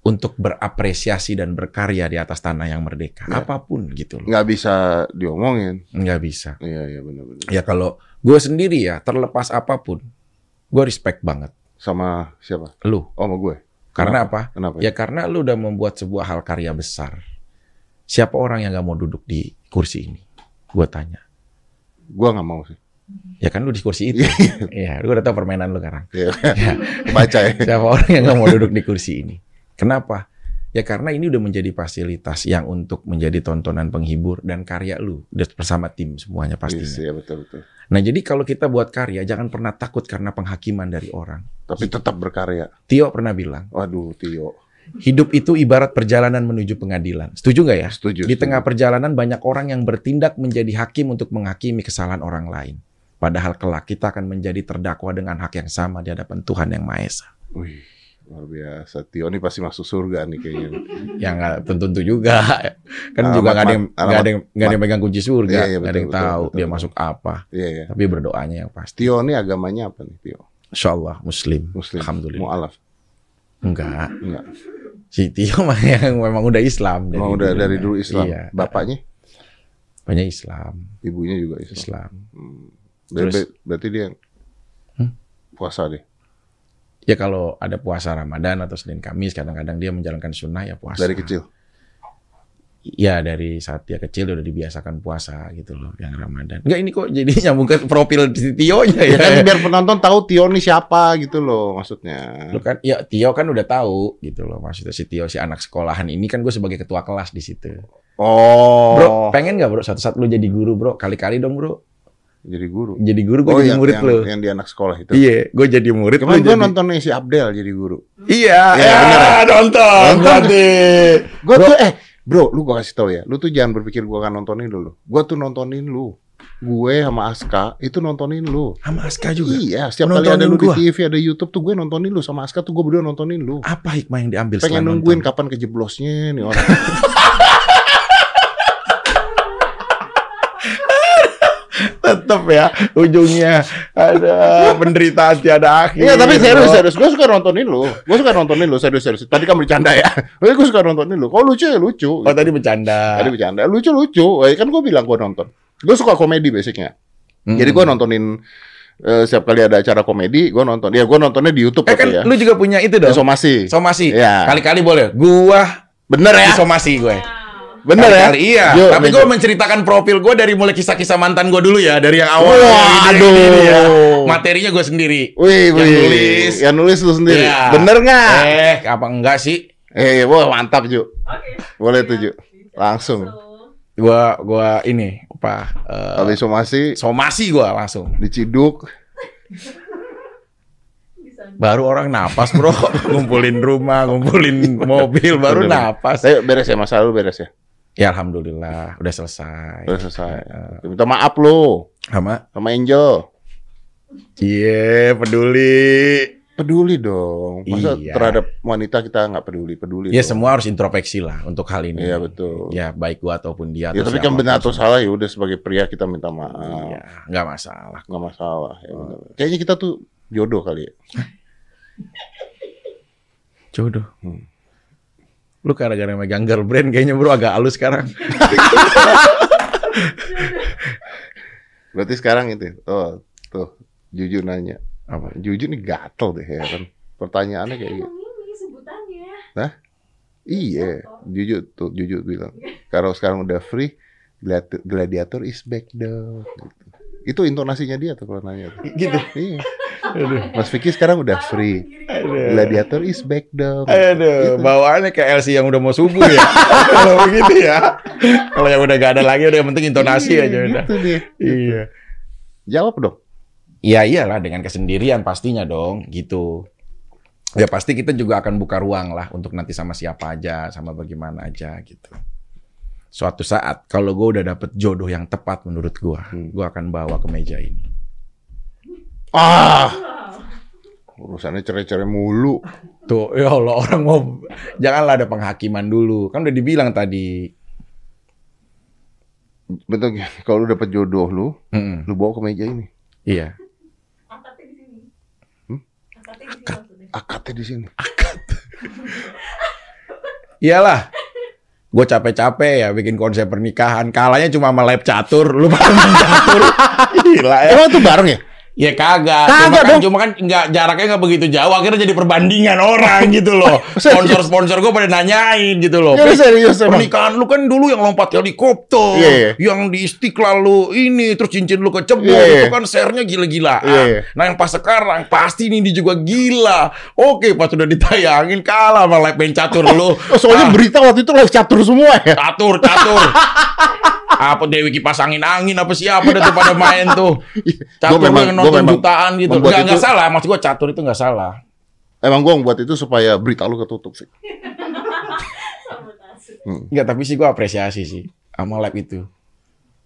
Speaker 2: untuk berapresiasi dan berkarya di atas tanah yang merdeka,
Speaker 1: Ya.
Speaker 2: apapun gitu loh.
Speaker 1: nggak bisa diomongin.
Speaker 2: Nggak bisa.
Speaker 1: Iya iya benar-benar.
Speaker 2: Ya kalau gua sendiri ya terlepas apapun, gua respect banget
Speaker 1: Sama siapa?
Speaker 2: lu.
Speaker 1: Oh, sama gue.
Speaker 2: Karena apa?
Speaker 1: Kenapa?
Speaker 2: Ya karena lu udah membuat sebuah hal karya besar. Siapa orang yang nggak mau duduk di kursi ini? Gua tanya.
Speaker 1: Gue nggak mau sih.
Speaker 2: Ya kan lu di kursi itu. Iya, lu udah tahu permainan lu sekarang.
Speaker 1: Iya.
Speaker 2: Ya.
Speaker 1: Baca ya.
Speaker 2: Siapa orang yang nggak mau duduk di kursi ini? Kenapa? Ya karena ini udah menjadi fasilitas yang untuk menjadi tontonan penghibur dan karya lu udah bersama tim semuanya
Speaker 1: Yes,
Speaker 2: pastinya.
Speaker 1: Iya betul betul.
Speaker 2: Nah jadi kalau kita buat karya jangan pernah takut karena penghakiman dari orang.
Speaker 1: Tapi tetap berkarya.
Speaker 2: Tio pernah bilang
Speaker 1: Waduh, Tio.
Speaker 2: hidup itu ibarat perjalanan menuju pengadilan. Setuju nggak ya?
Speaker 1: Setuju.
Speaker 2: Di
Speaker 1: setuju.
Speaker 2: tengah perjalanan banyak orang yang bertindak menjadi hakim untuk menghakimi kesalahan orang lain. Padahal kelak kita akan menjadi terdakwa dengan hak yang sama di hadapan Tuhan yang Maha Esa.
Speaker 1: Wih, luar biasa. Tio ini pasti masuk surga nih kayaknya.
Speaker 2: Ya nggak tentu tentu juga. Kan
Speaker 1: Alamat
Speaker 2: juga nggak ada yang
Speaker 1: mat-
Speaker 2: nggak ada yang nggak ada yang pegang kunci surga,
Speaker 1: Iya,
Speaker 2: nggak
Speaker 1: iya,
Speaker 2: ada yang
Speaker 1: betul, betul,
Speaker 2: tahu
Speaker 1: betul,
Speaker 2: dia
Speaker 1: betul.
Speaker 2: masuk apa.
Speaker 1: Iya ya.
Speaker 2: Tapi berdoanya yang pasti.
Speaker 1: Tio ini agamanya apa nih, Tio?
Speaker 2: Insya Allah Muslim.
Speaker 1: Muslim.
Speaker 2: Alhamdulillah.
Speaker 1: Mualaf.
Speaker 2: Enggak.
Speaker 1: Enggak.
Speaker 2: Si Tio mah yang memang udah Islam.
Speaker 1: Emang udah dari dulu Islam.
Speaker 2: Iya.
Speaker 1: Bapaknya,
Speaker 2: Banyak Islam.
Speaker 1: ibunya juga Islam.
Speaker 2: Islam.
Speaker 1: Hmm.
Speaker 2: Terus-
Speaker 1: Ber- berarti dia yang
Speaker 2: Hmm?
Speaker 1: puasa deh.
Speaker 2: Ya kalau ada puasa Ramadan atau Senin Kamis kadang-kadang dia menjalankan sunnah ya puasa.
Speaker 1: Dari kecil.
Speaker 2: Ya dari saat dia kecil udah dibiasakan puasa gitu loh yang Ramadan. Enggak ini kok jadi nyambung ke profil si Tio nya
Speaker 1: Ya
Speaker 2: ya.
Speaker 1: kan biar penonton tahu Tio ini siapa gitu loh maksudnya.
Speaker 2: Lu kan ya Tio kan udah tahu gitu loh maksudnya si Tio si anak sekolahan ini kan gue sebagai ketua kelas di situ.
Speaker 1: Oh.
Speaker 2: Bro, pengen nggak bro satu saat lu jadi guru bro kali-kali dong bro
Speaker 1: jadi guru.
Speaker 2: jadi guru gue jadi
Speaker 1: Oh, yang,
Speaker 2: murid
Speaker 1: yang,
Speaker 2: lu.
Speaker 1: yang di anak sekolah itu.
Speaker 2: Iya, gue jadi murid lu
Speaker 1: iya, Kemarin gue
Speaker 2: jadi-
Speaker 1: nonton nih si Abdel jadi guru.
Speaker 2: Iya,
Speaker 1: Iya,
Speaker 2: ya,
Speaker 1: bener ya?
Speaker 2: nonton.
Speaker 1: Nonton.
Speaker 2: berarti.
Speaker 1: Gue tuh eh bro, lu gua kasih tau ya, lu tuh jangan berpikir gua akan nontonin lu. Gua tuh nontonin lu. Gue sama Aska itu nontonin lu.
Speaker 2: Sama Aska juga.
Speaker 1: Iya, setiap kali ada
Speaker 2: Nontonin
Speaker 1: lu
Speaker 2: gua.
Speaker 1: di TV, ada YouTube tuh gue nontonin lu sama Aska tuh gue berdua nontonin lu.
Speaker 2: Apa hikmah yang diambil
Speaker 1: Pengen
Speaker 2: setelah
Speaker 1: nungguin
Speaker 2: nonton?
Speaker 1: kapan kejeblosnya nih orang.
Speaker 2: Tetep ya, ujungnya ada penderitaan tiada akhir. Oh.
Speaker 1: Iya, tapi serius
Speaker 2: bro.
Speaker 1: serius gue suka nontonin lu. Gue suka nontonin lu serius serius. Tadi kamu bercanda ya. Tapi gue suka nontonin lu. Kalau lucu ya lucu.
Speaker 2: Oh tadi bercanda.
Speaker 1: Tadi bercanda, lucu lucu. Eh, kan gue bilang gue nonton. Gue suka komedi basicnya.
Speaker 2: Mm.
Speaker 1: Jadi gue nontonin eh, setiap kali ada acara komedi, gue nonton. Ya gue nontonnya di YouTube
Speaker 2: Eh kan
Speaker 1: tapi ya.
Speaker 2: lu juga punya itu dong.
Speaker 1: Somasi.
Speaker 2: Somasi.
Speaker 1: Iya.
Speaker 2: Kali-kali boleh. Gua
Speaker 1: Bener ya?
Speaker 2: somasi gue.
Speaker 1: Bener ya?
Speaker 2: Kali-kali iya.
Speaker 1: Yuk,
Speaker 2: Tapi
Speaker 1: lanjut.
Speaker 2: gue menceritakan profil gue dari mulai kisah-kisah mantan gue dulu ya, dari yang awal.
Speaker 1: Wah,
Speaker 2: Dari ini, ini, ya.
Speaker 1: aduh.
Speaker 2: Materinya gue sendiri.
Speaker 1: Wih,
Speaker 2: Yang
Speaker 1: wih.
Speaker 2: nulis.
Speaker 1: Yang nulis lu sendiri.
Speaker 2: Iya.
Speaker 1: Bener nggak?
Speaker 2: Eh, apa enggak sih?
Speaker 1: Eh, wah mantap Ju.
Speaker 5: Oke.
Speaker 1: Boleh
Speaker 5: Iya,
Speaker 1: tuh Ju.
Speaker 5: bisa.
Speaker 1: Langsung.
Speaker 5: So,
Speaker 2: Gua gua ini apa? eh,
Speaker 1: Habis somasi,
Speaker 2: somasi gua langsung.
Speaker 1: diciduk.
Speaker 5: bisa.
Speaker 2: Baru orang napas, Bro. ngumpulin rumah, ngumpulin mobil, baru
Speaker 1: Bener-bener.
Speaker 2: napas.
Speaker 1: Eh, beres ya masalah lu beres ya.
Speaker 2: Ya alhamdulillah udah selesai.
Speaker 1: Udah selesai.
Speaker 2: Iya.
Speaker 1: Minta maaf lu
Speaker 2: Sama
Speaker 1: sama Angel.
Speaker 2: Iya, peduli.
Speaker 1: Peduli dong. Masa
Speaker 2: Iya.
Speaker 1: terhadap wanita kita nggak peduli, peduli.
Speaker 2: Ya
Speaker 1: dong.
Speaker 2: semua harus introspeksi lah untuk hal ini.
Speaker 1: Iya, betul.
Speaker 2: Ya baik gua ataupun dia.
Speaker 1: Ya
Speaker 2: atau
Speaker 1: tapi kan
Speaker 2: siapapun.
Speaker 1: benar atau salah ya udah sebagai pria kita minta maaf.
Speaker 2: Iya, Oh. nggak masalah.
Speaker 1: nggak masalah. Ya, benar. Kayaknya kita tuh jodoh kali ya.
Speaker 2: Jodoh.
Speaker 1: Hmm.
Speaker 2: Lu gara-gara megang girl brand kayaknya bro agak halus sekarang.
Speaker 1: Berarti sekarang itu. Oh, tuh. Jujur nanya.
Speaker 2: Apa?
Speaker 1: Jujur nih gatel deh ya kan. Pertanyaannya kayak gitu.
Speaker 5: Emang ini sebutannya.
Speaker 1: Iya, jujur tuh, jujur bilang. Kalau sekarang udah free, gladi- gladiator is back dong. Gitu. Itu intonasinya dia tuh kalau nanya. tuh.
Speaker 2: Gitu.
Speaker 1: Iya. Mas é Vicky sekarang udah free.
Speaker 2: É, Iya.
Speaker 1: Gladiator is back dong.
Speaker 2: Eh, Aduh, bawaannya kayak LC yang udah mau subuh ya. Kalau begitu ya. Kalau yang udah gak ada lagi udah yang penting intonasi
Speaker 1: Iya,
Speaker 2: aja udah.
Speaker 1: gitu dia.
Speaker 2: Iya.
Speaker 1: Jawab dong.
Speaker 2: Iya iyalah dengan kesendirian pastinya dong gitu. Ya pasti kita juga akan buka ruang lah untuk nanti sama siapa aja, sama bagaimana aja gitu. Suatu saat kalau gue udah dapet jodoh yang tepat menurut gue,
Speaker 1: Hmm.
Speaker 2: gue akan bawa ke meja ini.
Speaker 1: Ah. Urusannya cerai-cerai mulu.
Speaker 2: Tuh, ya Allah orang mau janganlah ada penghakiman dulu. Kan udah dibilang tadi
Speaker 1: betul Gil. kalau lu dapet jodoh lu,
Speaker 2: Mm-mm.
Speaker 1: lu bawa ke meja ini.
Speaker 2: Iya.
Speaker 5: Akadnya di sini.
Speaker 1: Hmm?
Speaker 5: Akadnya di sini maksudnya.
Speaker 1: Akadnya di sini.
Speaker 2: Iyalah. Gue capek-capek ya bikin konsep pernikahan. Kalahnya cuma sama lab catur. Lu paham lab catur? Gila ya.
Speaker 1: Emang itu bareng ya?
Speaker 2: Ya kagak.
Speaker 4: Kagak
Speaker 2: cuma kan,
Speaker 4: dong.
Speaker 2: cuma kan nggak jaraknya nggak begitu jauh. Akhirnya jadi perbandingan orang gitu loh. Sponsor-sponsor gue pada nanyain gitu loh.
Speaker 1: Oh, Ya lu serius emang.
Speaker 2: Pernikahan lu kan dulu yang lompat helikopter,
Speaker 1: Iya, iya.
Speaker 2: yang di istiqlal lu ini, terus cincin lu kecebur,
Speaker 1: Iya, iya.
Speaker 2: itu kan share-nya gila-gilaan.
Speaker 1: Iya, iya.
Speaker 2: Nah yang pas sekarang, pasti ini dia juga gila. Oke, pas udah ditayangin, kalah sama lab band catur lu.
Speaker 1: Oh, soalnya
Speaker 2: Ah,
Speaker 1: berita waktu itu live catur semua ya.
Speaker 2: catur, catur. apa Dewi kipas angin angin apa siapa dah tuh pada main tuh catur
Speaker 1: Gua memang-
Speaker 2: yang
Speaker 1: gua
Speaker 2: nonton
Speaker 1: memang
Speaker 2: jutaan gitu
Speaker 1: membuat
Speaker 2: nggak nggak
Speaker 1: itu-
Speaker 2: salah maksud gua catur itu nggak salah
Speaker 1: Emang gua buat itu supaya berita lu ketutup sih.
Speaker 5: Sabotase.
Speaker 2: Enggak, tapi sih gua apresiasi sih sama lab itu.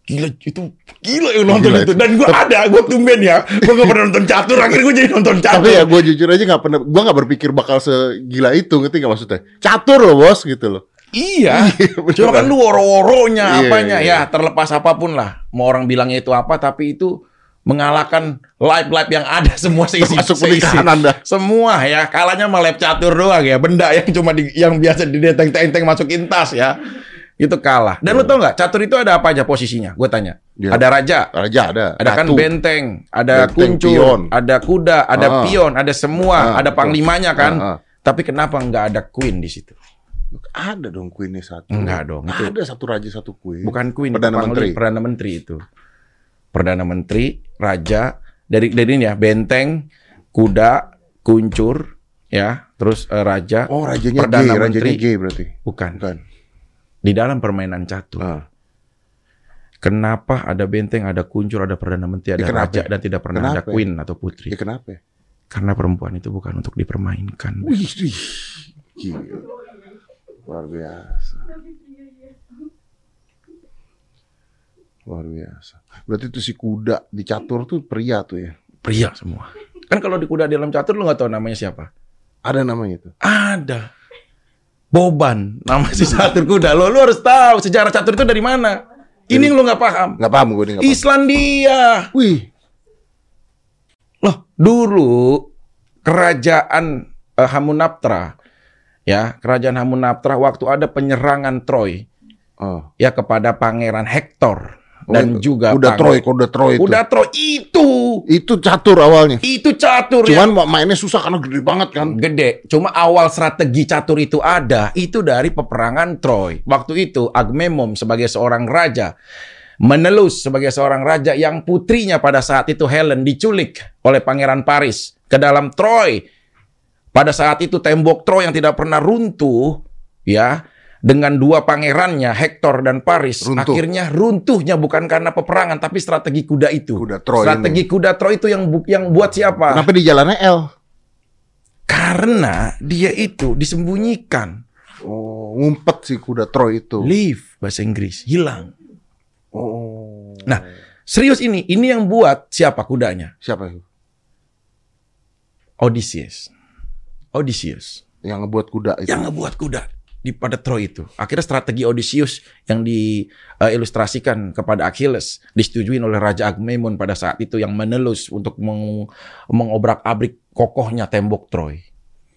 Speaker 2: Gila itu gila yang nonton
Speaker 1: Gila
Speaker 2: itu. Dan gua ada, gua tumben ya. Gua gak pernah nonton catur, akhirnya gua jadi nonton catur.
Speaker 1: Tapi ya gue jujur aja nggak pernah, gue nggak berpikir bakal segila itu, ngerti nggak maksudnya? Catur loh bos gitu loh.
Speaker 2: Iya.
Speaker 1: Iya, beneran.
Speaker 2: Cuma kan lu woro-woronya
Speaker 1: Iya,
Speaker 2: apanya
Speaker 1: iya.
Speaker 2: ya, terlepas apapun lah. Mau orang bilangnya itu apa tapi itu mengalahkan live-live yang ada semua seisi
Speaker 1: Termasuk
Speaker 2: seisi.
Speaker 1: pernikahan Anda.
Speaker 2: Semua ya, kalahnya sama lab catur doang ya, benda yang cuma di, yang biasa dideteng-teng masukin tas ya. Itu kalah. Dan lu tau nggak, catur itu ada apa aja posisinya? Gue tanya.
Speaker 1: Iya.
Speaker 2: Ada raja,
Speaker 1: Raja ada,
Speaker 2: ada kan
Speaker 1: ratu.
Speaker 2: benteng, ada
Speaker 1: Benteng,
Speaker 2: kuncur,
Speaker 1: pion.
Speaker 2: ada kuda, ada
Speaker 1: Ah.
Speaker 2: pion, ada semua,
Speaker 1: Ah,
Speaker 2: ada
Speaker 1: betul.
Speaker 2: panglimanya kan.
Speaker 1: Ah, ah.
Speaker 2: Tapi kenapa nggak ada queen di situ?
Speaker 1: ada dong queennya satu.
Speaker 2: Enggak dong, itu-
Speaker 1: Ada satu raja satu queen.
Speaker 2: Bukan queen,
Speaker 1: Gitu. Perdana
Speaker 2: pangli-
Speaker 1: Menteri.
Speaker 2: perdana menteri itu. Perdana menteri, raja, dari dari ini ya, benteng, kuda, kuncur, ya, terus eh, raja.
Speaker 1: Oh rajanya
Speaker 2: perdana
Speaker 1: gay,
Speaker 2: menteri.
Speaker 1: rajanya gay berarti.
Speaker 2: Bukan.
Speaker 1: Bukan.
Speaker 2: Di dalam permainan catur.
Speaker 1: Ah.
Speaker 2: Kenapa ada benteng, ada kuncur, ada perdana menteri, ada
Speaker 1: Ya, kenapa?
Speaker 2: raja dan tidak pernah ada
Speaker 1: Kenapa?
Speaker 2: queen atau putri?
Speaker 1: Ya kenapa? ya?
Speaker 2: Karena perempuan itu bukan untuk dipermainkan.
Speaker 1: Wih, wih. Gila. Luar biasa. Luar biasa. Berarti itu si kuda di catur tuh pria tuh ya.
Speaker 2: pria semua. Kan kalau di kuda di dalam catur lu nggak tahu namanya siapa?
Speaker 1: Ada namanya itu.
Speaker 2: Ada. Boban, nama si catur kuda. Lo lu harus tahu sejarah catur itu dari mana. Ini yang lu nggak paham.
Speaker 1: Nggak paham gue nih nggak paham.
Speaker 2: Islandia.
Speaker 1: Wih.
Speaker 2: Loh, dulu kerajaan eh, Hamunaptra ya, kerajaan Hamunaptra waktu ada penyerangan Troy
Speaker 1: Oh.
Speaker 2: ya kepada pangeran Hector
Speaker 1: Oh,
Speaker 2: dan juga
Speaker 1: kuda
Speaker 2: pangeran-
Speaker 1: Troy, kuda Troy itu.
Speaker 2: Kuda Troy itu.
Speaker 1: Itu catur awalnya.
Speaker 2: Itu catur ya.
Speaker 1: Cuman mainnya susah karena gede banget kan.
Speaker 2: gede. Cuma awal strategi catur itu ada, itu dari peperangan Troy. Waktu itu Agamenon sebagai seorang raja menelus sebagai seorang raja yang putrinya pada saat itu Helen diculik oleh pangeran Paris ke dalam Troy. Pada saat itu tembok Troy yang tidak pernah runtuh ya dengan dua pangerannya Hector dan Paris
Speaker 1: Runtuh.
Speaker 2: akhirnya runtuhnya bukan karena peperangan tapi strategi kuda itu.
Speaker 1: Kuda Troy
Speaker 2: strategi kuda Troy itu yang bu- yang buat siapa?
Speaker 1: Kenapa di jalannya L?
Speaker 2: Karena dia itu disembunyikan.
Speaker 1: Oh, ngumpet si kuda Troy itu.
Speaker 2: Leave bahasa Inggris, hilang.
Speaker 1: Oh.
Speaker 2: Nah, serius ini, ini yang buat siapa kudanya?
Speaker 1: Siapa itu?
Speaker 2: Odysseus. Odysseus
Speaker 1: Yang ngebuat kuda itu.
Speaker 2: yang ngebuat kuda di pada Troy itu. Akhirnya strategi Odysseus yang diilustrasikan kepada Achilles disetujui oleh Raja Agamemnon pada saat itu yang menelus untuk meng- mengobrak-abrik kokohnya tembok Troy.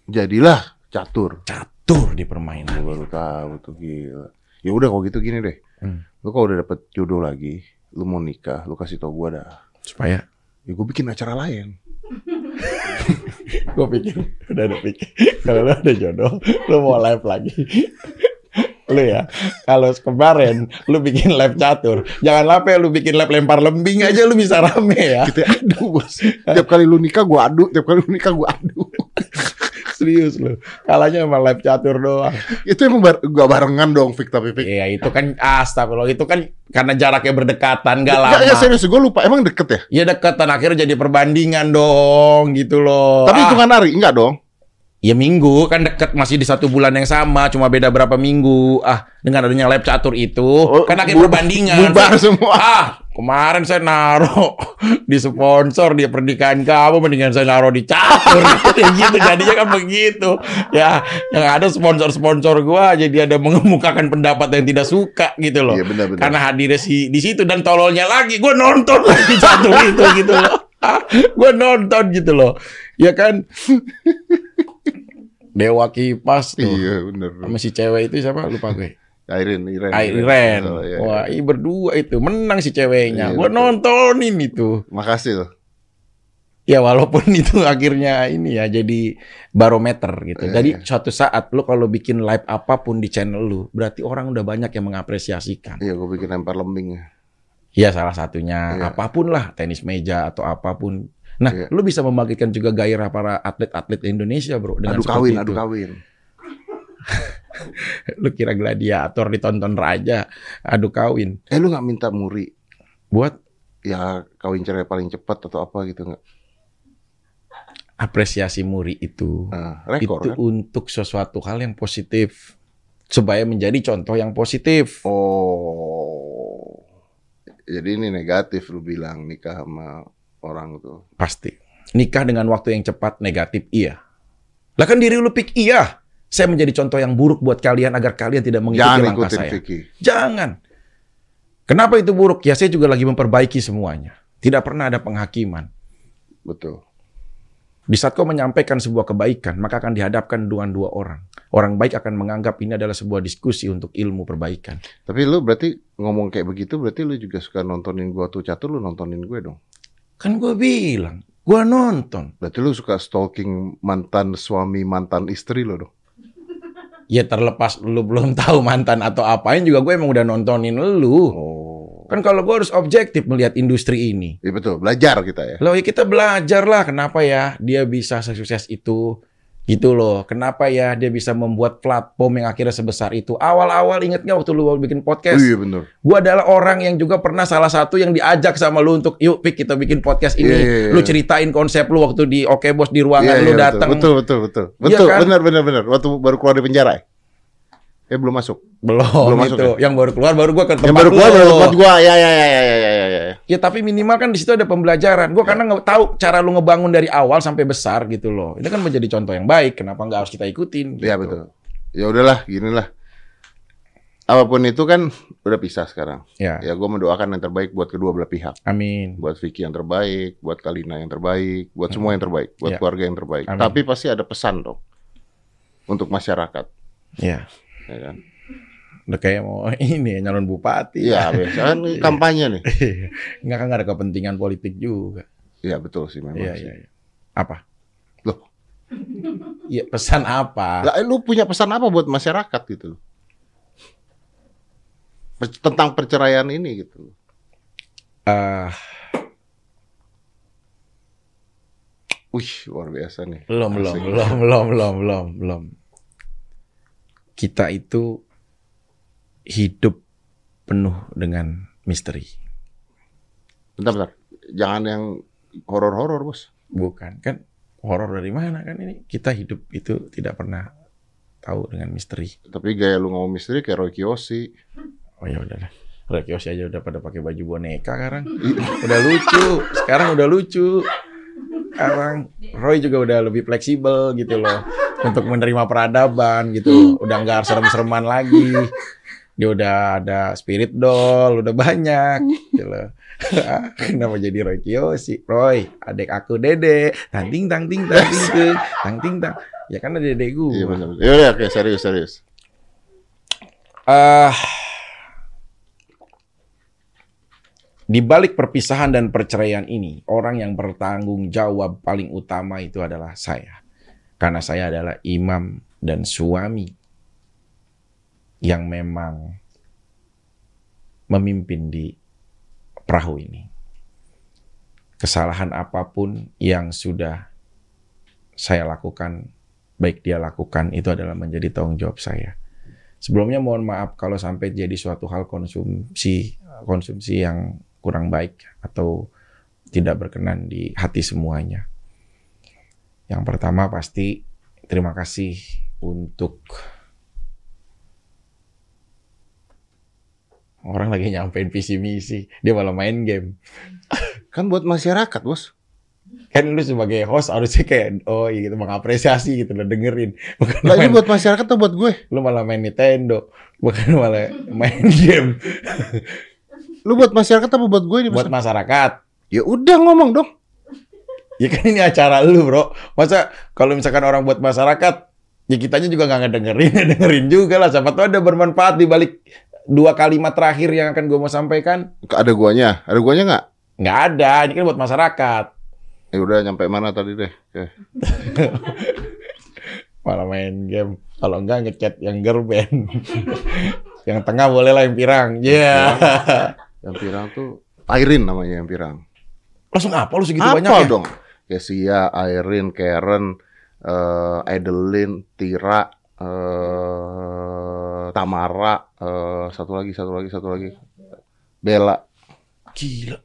Speaker 1: Jadilah catur.
Speaker 2: Catur di permainan.
Speaker 1: Gua baru tahu tuh gila. Ya udah kalau gitu gini deh.
Speaker 2: Hmm.
Speaker 1: Lu kalau udah dapet jodoh lagi, lu mau nikah, lu kasih tau gua dah.
Speaker 2: Supaya
Speaker 1: Ya gue bikin acara lain.
Speaker 2: gue pikir udah ada pikir kalau lo ada jodoh lo mau live lagi lu ya kalau kemarin lu bikin live catur jangan lape lu bikin live lempar lembing aja lu bisa rame ya
Speaker 1: Kita adu bos. tiap kali lu nikah gua adu, tiap kali lu nikah gua adu.
Speaker 2: serius lu kalahnya sama live catur doang
Speaker 1: itu emang bar gak barengan dong Fik tapi Fik.
Speaker 2: iya itu kan astagfirullah itu kan karena jaraknya berdekatan gak Iya, lama
Speaker 1: Nggak, nggak, ya, serius gue lupa emang deket ya.
Speaker 2: ya dekatan akhirnya jadi perbandingan dong gitu loh
Speaker 1: Tapi
Speaker 2: Ah,
Speaker 1: hitungan hari enggak dong.
Speaker 2: Ya minggu kan deket masih di satu bulan yang sama cuma beda berapa minggu ah dengan adanya lab catur itu
Speaker 1: Oh,
Speaker 2: kan akhir
Speaker 1: bu-
Speaker 2: perbandingan
Speaker 1: bubar semua.
Speaker 2: ah Kemarin saya naruh di sponsor dia pernikahan kamu mendingan saya naruh di catur Kayak gitu jadinya kan begitu. Ya, yang ada sponsor-sponsor gua jadi ada mengemukakan pendapat yang tidak suka gitu loh.
Speaker 1: Iya, benar-benar.
Speaker 2: Karena hadirnya si di situ dan tololnya lagi gua nonton lagi catur itu gitu loh. gua nonton gitu loh. Ya kan? Dewa kipas tuh.
Speaker 1: Iya bener.
Speaker 2: Sama si cewek itu siapa? Lupa gue.
Speaker 1: Airin, Iren.
Speaker 2: Airen.
Speaker 1: Oh, iya.
Speaker 2: Ah, Wah, i berdua itu menang si ceweknya.
Speaker 1: Iya,
Speaker 2: Gua
Speaker 1: betul.
Speaker 2: nontonin itu.
Speaker 1: Makasih loh.
Speaker 2: Ya walaupun itu akhirnya ini ya jadi barometer gitu.
Speaker 1: Iya,
Speaker 2: Jadi
Speaker 1: iya.
Speaker 2: suatu saat lu kalau bikin live apapun di channel lu, berarti orang udah banyak yang mengapresiasikan.
Speaker 1: Iya, gue bikin lempar lembing.
Speaker 2: Ya salah satunya
Speaker 1: Iya.
Speaker 2: apapun lah, tenis meja atau apapun. Nah,
Speaker 1: Iya.
Speaker 2: lu bisa membangkitkan juga gairah para atlet-atlet Indonesia, Bro, dengan
Speaker 1: Adu
Speaker 2: gitu. seperti
Speaker 1: kawin,
Speaker 2: itu.
Speaker 1: adu kawin.
Speaker 2: Lu kira gladiator ditonton raja, adu kawin.
Speaker 1: Eh lu nggak minta muri?
Speaker 2: Buat
Speaker 1: Ya kawin cerai paling cepat atau apa gitu nggak?
Speaker 2: apresiasi muri itu.
Speaker 1: Nah, rekor kan?
Speaker 2: itu untuk sesuatu hal yang positif supaya menjadi contoh yang positif.
Speaker 1: Oh. Jadi ini negatif lu bilang nikah sama orang tuh.
Speaker 2: Pasti. Nikah dengan waktu yang cepat negatif iya. Lah kan diri lu pik iya. Saya menjadi contoh yang buruk buat kalian agar kalian tidak mengikuti
Speaker 1: Jangan
Speaker 2: langkah
Speaker 1: ikutin
Speaker 2: saya.
Speaker 1: Vicky.
Speaker 2: Jangan. Kenapa itu buruk? Ya saya juga lagi memperbaiki semuanya. Tidak pernah ada penghakiman.
Speaker 1: Betul.
Speaker 2: Di saat kau menyampaikan sebuah kebaikan, maka akan dihadapkan dengan dua orang. Orang baik akan menganggap ini adalah sebuah diskusi untuk ilmu perbaikan.
Speaker 1: Tapi lu berarti ngomong kayak begitu berarti lu juga suka nontonin gua tuh catur lu nontonin gue dong.
Speaker 2: Kan gue bilang, gue nonton.
Speaker 1: Berarti lu suka stalking mantan suami mantan istri lo dong.
Speaker 2: Ya terlepas lu belum tahu mantan atau apain juga gue emang udah nontonin lu.
Speaker 1: Oh.
Speaker 2: Kan kalau gue harus objektif melihat industri ini.
Speaker 1: Iya betul, belajar kita ya.
Speaker 2: Loh ya kita belajar lah kenapa ya dia bisa sukses itu. Gitu loh. Kenapa ya dia bisa membuat platform yang akhirnya sebesar itu. Awal-awal inget nggak waktu lu bikin podcast?
Speaker 1: Iya bener.
Speaker 2: Gue adalah orang yang juga pernah salah satu yang diajak sama lu untuk yuk Vic kita bikin podcast ini.
Speaker 1: Iya, iya, iya.
Speaker 2: Lu ceritain konsep lu waktu di Oke Bos di
Speaker 1: Iya,
Speaker 2: ruangan lu
Speaker 1: iya, betul,
Speaker 2: datang.
Speaker 1: Betul betul betul.
Speaker 2: Iya
Speaker 1: Betul,
Speaker 2: kan?
Speaker 1: benar benar benar. Waktu baru keluar dari penjara. Ya, Eh, belum masuk.
Speaker 2: Belum,
Speaker 1: Belum masuk
Speaker 2: itu.
Speaker 1: ya?
Speaker 2: Yang baru keluar baru gue ke tempat
Speaker 1: Yang baru keluar
Speaker 2: lu.
Speaker 1: baru tempat gua. Ya ya ya ya ya ya ya. ya.
Speaker 2: Ya tapi minimal kan di situ ada pembelajaran. Gue karena nggak tahu cara lu ngebangun dari awal sampai besar gitu loh. Itu kan menjadi contoh yang baik. Kenapa nggak harus kita ikutin?
Speaker 1: Iya
Speaker 2: gitu.
Speaker 1: betul. Ya udahlah, gini lah. Apapun itu kan udah pisah sekarang.
Speaker 2: Ya.
Speaker 1: Ya gue mendoakan yang terbaik buat kedua belah pihak.
Speaker 2: Amin.
Speaker 1: Buat Vicky yang terbaik, buat Kalina yang terbaik, buat semua yang terbaik, buat
Speaker 2: Ya.
Speaker 1: keluarga yang terbaik.
Speaker 2: Amin.
Speaker 1: Tapi pasti ada pesan dong untuk masyarakat,
Speaker 2: Ya.
Speaker 1: ya kan?
Speaker 2: Udah kayak mau ini ya, nyalon bupati.
Speaker 1: Iya, biasa kan kampanye nih.
Speaker 2: nggak kan nggak ada kepentingan politik juga.
Speaker 1: Iya betul sih memang.
Speaker 2: Iya
Speaker 1: sih.
Speaker 2: iya. iya. Apa?
Speaker 1: Loh.
Speaker 2: Iya pesan apa?
Speaker 1: Lah, eh, lu punya pesan apa buat masyarakat gitu loh? Per- Tentang perceraian ini gitu. loh.
Speaker 2: Eh,
Speaker 1: Wih, luar biasa nih.
Speaker 2: belum belum
Speaker 1: Asik.
Speaker 2: belum belum belum belum belum. Kita itu hidup penuh dengan misteri.
Speaker 1: Bentar, bentar. Jangan yang horor-horor, Bos.
Speaker 2: Bukan kan horor dari mana kan ini? Kita hidup itu tidak pernah tahu dengan misteri.
Speaker 1: Tapi gaya lu ngomong misteri kayak Roy Kiyoshi.
Speaker 2: Oh ya udahlah. Rekyosi aja udah pada pakai baju boneka sekarang. udah lucu. Sekarang udah lucu. Sekarang Roy juga udah lebih fleksibel gitu loh. Untuk menerima peradaban gitu. Udah nggak serem-sereman lagi. Dia udah ada spirit doll, udah banyak gitu loh. Kenapa jadi Roy Kiyoshi? Roy, adek aku Dede. Tang ting tang ting tang ting ting. Tang ting tang. Ya kan ada dedek gue.
Speaker 1: Iya, benar. Iya, iya, oke, serius, serius.
Speaker 2: Ah. di balik perpisahan dan perceraian ini, orang yang bertanggung jawab paling utama itu adalah saya. Karena saya adalah imam dan suami yang memang memimpin di perahu ini. Kesalahan apapun yang sudah saya lakukan, baik dia lakukan, itu adalah menjadi tanggung jawab saya. Sebelumnya mohon maaf kalau sampai jadi suatu hal konsumsi konsumsi yang kurang baik atau tidak berkenan di hati semuanya. Yang pertama pasti terima kasih untuk Orang lagi nyampein visi misi, dia malah main game.
Speaker 1: Kan buat masyarakat, Bos.
Speaker 2: Kan lu sebagai host harusnya kayak oh iya gitu mengapresiasi gitu lo dengerin. Bukan
Speaker 1: Lah ini
Speaker 2: main-
Speaker 1: buat masyarakat atau buat gue?
Speaker 2: lu malah main Nintendo, bukan malah main game.
Speaker 1: Lu buat masyarakat apa buat gue ini? Bos?
Speaker 2: Buat masyarakat.
Speaker 1: Ya udah ngomong dong.
Speaker 2: Ya kan ini acara lu, Bro. Masa kalau misalkan orang buat masyarakat, ya kitanya juga nggak ngedengerin, ya dengerin juga lah. Siapa tahu ada bermanfaat di balik dua kalimat terakhir yang akan gue mau sampaikan.
Speaker 1: Ada guanya, ada guanya nggak?
Speaker 2: Nggak ada, ini kan buat masyarakat.
Speaker 1: Ya udah nyampe mana tadi deh. Ya.
Speaker 2: Malah main game. Kalau enggak ngechat yang gerben. yang tengah boleh lah yang pirang.
Speaker 1: Iya.
Speaker 2: Ya.
Speaker 1: Yang pirang tuh Airin namanya yang pirang.
Speaker 2: Langsung apa lu segitu
Speaker 1: Apa
Speaker 2: banyak ya?
Speaker 1: dong? Kesia, Airin, Karen, eh Adeline, Tira, eh Tamara, eh satu lagi, satu lagi, satu lagi. Bella.
Speaker 2: Gila.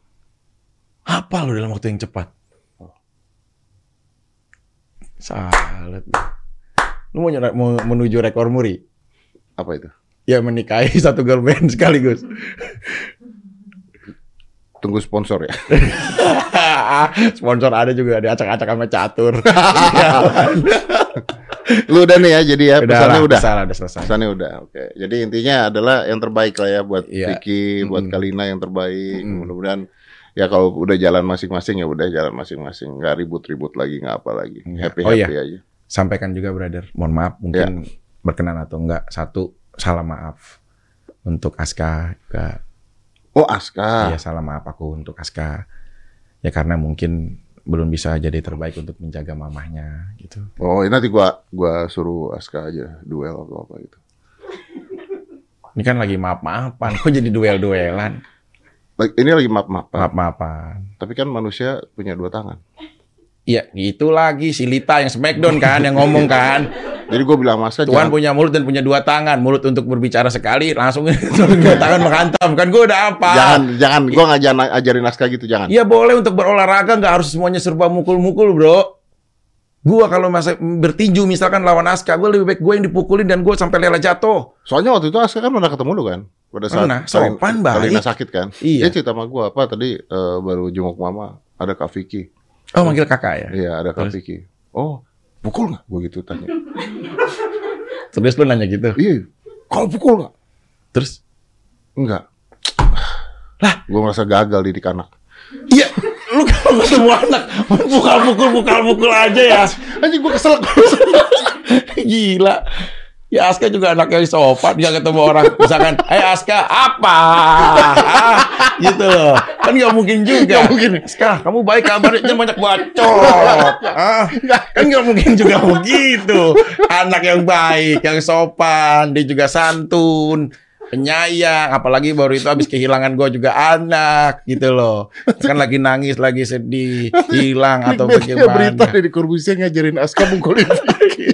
Speaker 2: Apa lu dalam waktu yang cepat? Salah. Lu mau, nyera- mau menuju rekor muri?
Speaker 1: Apa itu?
Speaker 2: Ya menikahi satu girl band sekaligus.
Speaker 1: Tunggu sponsor ya.
Speaker 2: Sponsor ada juga, ada acak-acak sama catur.
Speaker 1: Iya. Lu udah nih ya jadi ya pesannya
Speaker 2: lah,
Speaker 1: udah.
Speaker 2: Salah, udah selesai.
Speaker 1: Pesannya udah. Oke. Jadi intinya adalah yang terbaik lah ya buat
Speaker 2: Iya.
Speaker 1: Vicky, buat
Speaker 2: Mm-mm.
Speaker 1: Kalina yang terbaik.
Speaker 2: Mm-mm.
Speaker 1: Mudah-mudahan ya kalau udah jalan masing-masing ya udah jalan masing-masing, nggak ribut-ribut lagi, nggak apa lagi.
Speaker 2: Iya.
Speaker 1: Happy-happy
Speaker 2: Oh, iya.
Speaker 1: aja.
Speaker 2: Sampaikan juga, brother. Mohon maaf, mungkin
Speaker 1: Iya.
Speaker 2: berkenan atau enggak. Satu, salah maaf. Untuk Aska juga
Speaker 1: Oh, Aska.
Speaker 2: Ya salah maaf aku untuk Aska. Ya karena mungkin belum bisa jadi terbaik untuk menjaga mamahnya gitu.
Speaker 1: Oh, ini nanti gua gua suruh Aska aja duel atau apa gitu.
Speaker 2: Ini kan lagi maaf-maafan, kok jadi duel-duelan?
Speaker 1: Lagi- Ini lagi
Speaker 2: Hmm.
Speaker 1: maaf-maaf,
Speaker 2: Maaf-maafan.
Speaker 1: tapi kan manusia punya dua tangan.
Speaker 2: Iya, gitu lagi si Lita yang smackdown kan yang ngomong kan.
Speaker 1: Jadi gua bilang sama Aska
Speaker 2: Tuhan
Speaker 1: jangan,
Speaker 2: punya mulut dan punya dua tangan. Mulut untuk berbicara sekali, langsung dua tangan menghantam. Kan gue udah apa?
Speaker 1: jangan jangan gua ngajarin ajarin Aska gitu jangan.
Speaker 2: Iya boleh untuk berolahraga nggak harus semuanya serba mukul-mukul bro. Gua kalau masa bertinju misalkan lawan Aska, gue lebih baik gue yang dipukulin dan gue sampai rela jatuh.
Speaker 1: Soalnya waktu itu Aska kan pernah ketemu lu kan? Pada saat
Speaker 2: Pernah, sopan,
Speaker 1: Kalina- Kalina
Speaker 2: baik.
Speaker 1: sakit kan?
Speaker 2: Iya.
Speaker 1: Dia cerita sama gua apa tadi eh, baru jenguk mama ada Kak Vicky.
Speaker 2: Oh manggil kakak ya.
Speaker 1: Iya, ada Kak
Speaker 2: Terus?
Speaker 1: Vicky. Oh, pukul nggak? Gua gitu tanya.
Speaker 2: Terus lu nanya gitu.
Speaker 1: iya, kau pukul nggak?
Speaker 2: Terus
Speaker 1: Enggak. Lah, gua merasa gagal didik anak.
Speaker 2: iya lu kalau ketemu anak pukul pukul pukul pukul aja ya.
Speaker 1: Anjing gua kesel.
Speaker 2: Gila. Ya Aska juga anaknya sopan, nggak ketemu orang. Misalkan, eh Aska apa? Ah, gitu loh. Kan nggak mungkin juga. Nggak mungkin. Aska, kamu baik kabarnya banyak bacot. Ah, kan nggak mungkin juga begitu. Anak yang baik, yang sopan, dia juga santun, penyayang. Apalagi baru itu habis kehilangan gue juga anak, gitu loh. Kan lagi nangis, lagi sedih, hilang atau
Speaker 1: Media berita
Speaker 2: bagaimana.
Speaker 1: dari Corbusier ngajarin Aska mukulin Vicky.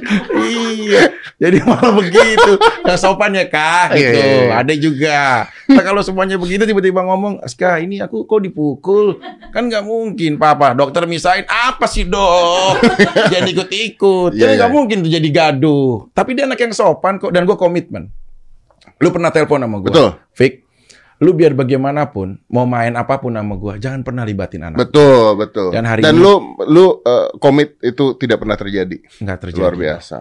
Speaker 2: iya jadi malah begitu yang sopan ya kak gitu
Speaker 1: Iya, iya, iya.
Speaker 2: ada juga nah, kalau semuanya begitu tiba-tiba ngomong Aska ini aku kok dipukul kan nggak mungkin papa dokter misain apa sih dok jangan ikut-ikut
Speaker 1: Iya,
Speaker 2: jadi
Speaker 1: iya.
Speaker 2: nggak mungkin tuh jadi gaduh tapi dia anak yang sopan kok dan gue komitmen lu pernah telepon sama gue
Speaker 1: Betul.
Speaker 2: Fik lu biar bagaimanapun mau main apapun sama gue jangan pernah libatin anak
Speaker 1: Betul, betul. Dan,
Speaker 2: Dan hari ini-
Speaker 1: lu lu eh, komit itu tidak pernah terjadi.
Speaker 2: nggak terjadi ya.
Speaker 1: Luar biasa.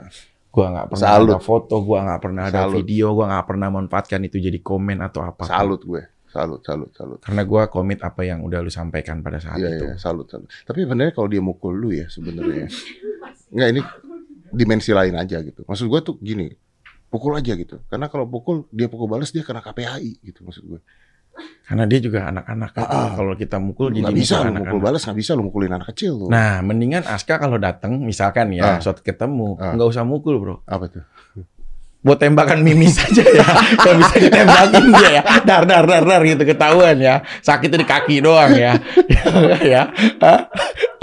Speaker 2: Gua nggak pernah
Speaker 1: Salut.
Speaker 2: ada foto, gua nggak pernah ada
Speaker 1: Salut.
Speaker 2: video, gua nggak pernah manfaatkan itu jadi komen atau apa.
Speaker 1: Salut gue. Salut, salut, salut.
Speaker 2: Karena gua komit apa yang udah lu sampaikan pada saat
Speaker 1: Iya,
Speaker 2: itu.
Speaker 1: iya, salut, salut. Tapi sebenarnya kalau dia mukul lu ya sebenarnya.
Speaker 5: assim?
Speaker 1: Enggak ini dimensi lain aja gitu. Maksud gue tuh gini, pukul aja gitu. Karena kalau pukul dia pukul balas dia kena KPAI gitu maksud gue.
Speaker 2: Karena dia juga anak-anak. kan.
Speaker 1: Ah, ah.
Speaker 2: Kalau kita mukul
Speaker 1: Lu
Speaker 2: jadi
Speaker 1: nggak bisa
Speaker 2: mukul
Speaker 1: lu mukul balas nggak bisa lu mukulin anak kecil lu.
Speaker 2: Nah, mendingan Aska kalau datang, misalkan
Speaker 1: Ah.
Speaker 2: ya, suatu ketemu,
Speaker 1: Ah.
Speaker 2: nggak usah mukul, bro.
Speaker 1: Apa tuh?
Speaker 2: Buat tembakan mimis aja ya, yang bisa ditembakin dia ya, dar dar dar dar gitu ketahuan ya, sakit di kaki doang ya, ya, ya. Hah?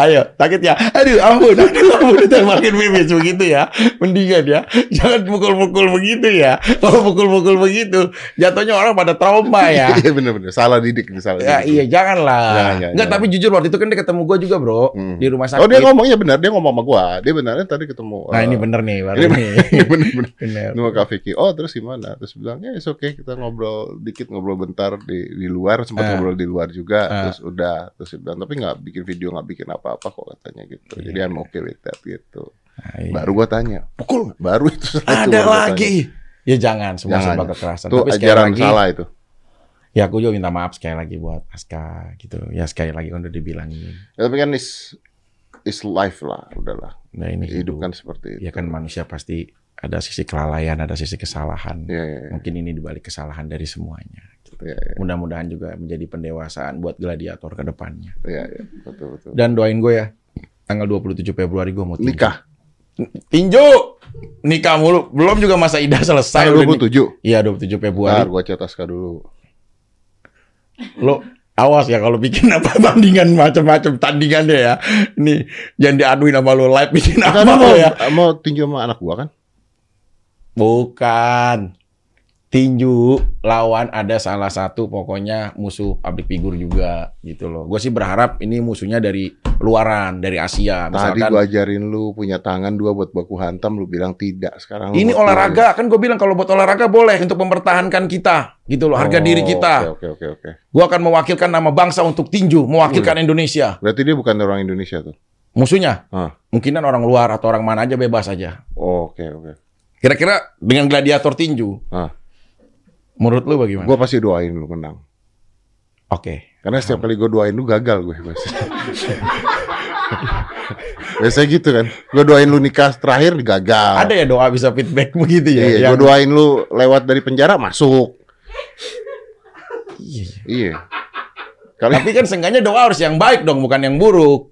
Speaker 2: Ayo, sakit ya. Aduh, ampun, aduh, ampun. Itu yang makin bibit begitu ya. Mendingan ya. Jangan pukul-pukul begitu ya. Kalau pukul-pukul begitu, jatuhnya orang pada trauma ya.
Speaker 1: Iya bener-bener salah didik nih, salah
Speaker 2: Ya,
Speaker 1: didik.
Speaker 2: iya, janganlah.
Speaker 1: Jangan, jangan,
Speaker 2: Enggak,
Speaker 1: jangan.
Speaker 2: tapi jujur waktu itu kan dia ketemu gue juga, bro.
Speaker 1: Hmm.
Speaker 2: Di rumah sakit.
Speaker 1: Oh dia ngomong iya benar dia ngomong sama gua. Dia benarnya tadi ketemu.
Speaker 2: Nah,
Speaker 1: eh,
Speaker 2: ini bener nih, baru
Speaker 1: Ini
Speaker 2: ini.
Speaker 1: Iya, bener-bener.
Speaker 2: bener.
Speaker 1: Nunggu Kak Vicky, oh terus gimana? Terus bilang, ya it's okay, kita ngobrol dikit, ngobrol bentar di, di luar, sempat
Speaker 2: Ah.
Speaker 1: ngobrol di luar juga,
Speaker 2: Ah.
Speaker 1: terus udah, terus dia bilang, tapi nggak bikin video, nggak bikin apa-apa kok katanya gitu. Jadi I'm okay with that gitu.
Speaker 2: Nah, iya.
Speaker 1: Baru gua tanya, pukul, baru itu satu
Speaker 2: Ada
Speaker 1: baru gua
Speaker 2: lagi. Ya jangan, semua
Speaker 1: Jangan.
Speaker 2: serba kekerasan.
Speaker 1: tanya. Itu
Speaker 2: Tapi sekali
Speaker 1: ajaran
Speaker 2: lagi,
Speaker 1: salah itu.
Speaker 2: ya aku juga minta maaf sekali lagi buat Aska gitu. Ya sekali lagi kan udah dibilangin.
Speaker 1: Ya, tapi kan is is life lah, udahlah.
Speaker 2: Nah ini
Speaker 1: Hidup
Speaker 2: hidup.
Speaker 1: kan seperti itu.
Speaker 2: Ya kan manusia pasti ada sisi kelalaian, ada sisi kesalahan.
Speaker 1: Iya, iya, iya.
Speaker 2: Mungkin ini dibalik kesalahan dari semuanya.
Speaker 1: Iya, iya,
Speaker 2: Mudah-mudahan juga menjadi pendewasaan buat gladiator ke depannya.
Speaker 1: iya, iya. betul, betul.
Speaker 2: Dan doain gue ya, tanggal 27 Februari gue mau tinju.
Speaker 1: Nikah,
Speaker 2: Tinju! Nikah mulu. Belum juga masa idah selesai.
Speaker 1: tanggal
Speaker 2: udah nih-
Speaker 1: 27.
Speaker 2: Iya 27 Februari.
Speaker 1: Bentar, gua cat Aska dulu.
Speaker 2: Lo awas ya kalau bikin apa tandingan macam-macam tandingannya ya. Nih jangan diaduin sama lo live bikin
Speaker 1: Kan
Speaker 2: apa
Speaker 1: mau,
Speaker 2: lo ya.
Speaker 1: mau tinju sama anak gua kan?
Speaker 2: Bukan. Tinju lawan ada salah satu pokoknya musuh public figure juga gitu loh. Gue sih berharap ini musuhnya dari luaran, dari Asia.
Speaker 1: Tadi
Speaker 2: Misalkan
Speaker 1: gua ajarin lu punya tangan dua buat baku hantam, lu bilang tidak. Sekarang lu
Speaker 2: ini
Speaker 1: mau
Speaker 2: olahraga kan gue bilang kalau buat olahraga boleh untuk mempertahankan kita gitu loh
Speaker 1: tinju.
Speaker 2: harga
Speaker 1: Oh,
Speaker 2: diri kita.
Speaker 1: Oke oke oke. oke.
Speaker 2: Gue akan mewakilkan nama bangsa untuk tinju, mewakilkan Indonesia.
Speaker 1: Berarti dia bukan orang Indonesia tuh.
Speaker 2: Musuhnya
Speaker 1: Ah.
Speaker 2: mungkinan orang luar atau orang mana aja bebas aja.
Speaker 1: Oh, Oke oke.
Speaker 2: Kira-kira dengan gladiator tinju,
Speaker 1: Ah,
Speaker 2: menurut lu bagaimana?
Speaker 1: gua pasti doain lu menang.
Speaker 2: Oke.
Speaker 1: Karena
Speaker 2: Ah.
Speaker 1: setiap kali gua doain lu gagal gue pasti. Biasanya gitu kan. Gua doain lu nikah terakhir gagal.
Speaker 2: Ada ya doa bisa feedback begitu ya?
Speaker 1: Ah. Iya,
Speaker 2: yang-
Speaker 1: gua doain lu lewat dari penjara masuk.
Speaker 2: Iya, iya.
Speaker 1: Iya. Kali
Speaker 2: Tapi kan seenggaknya doa harus yang baik dong, bukan yang buruk.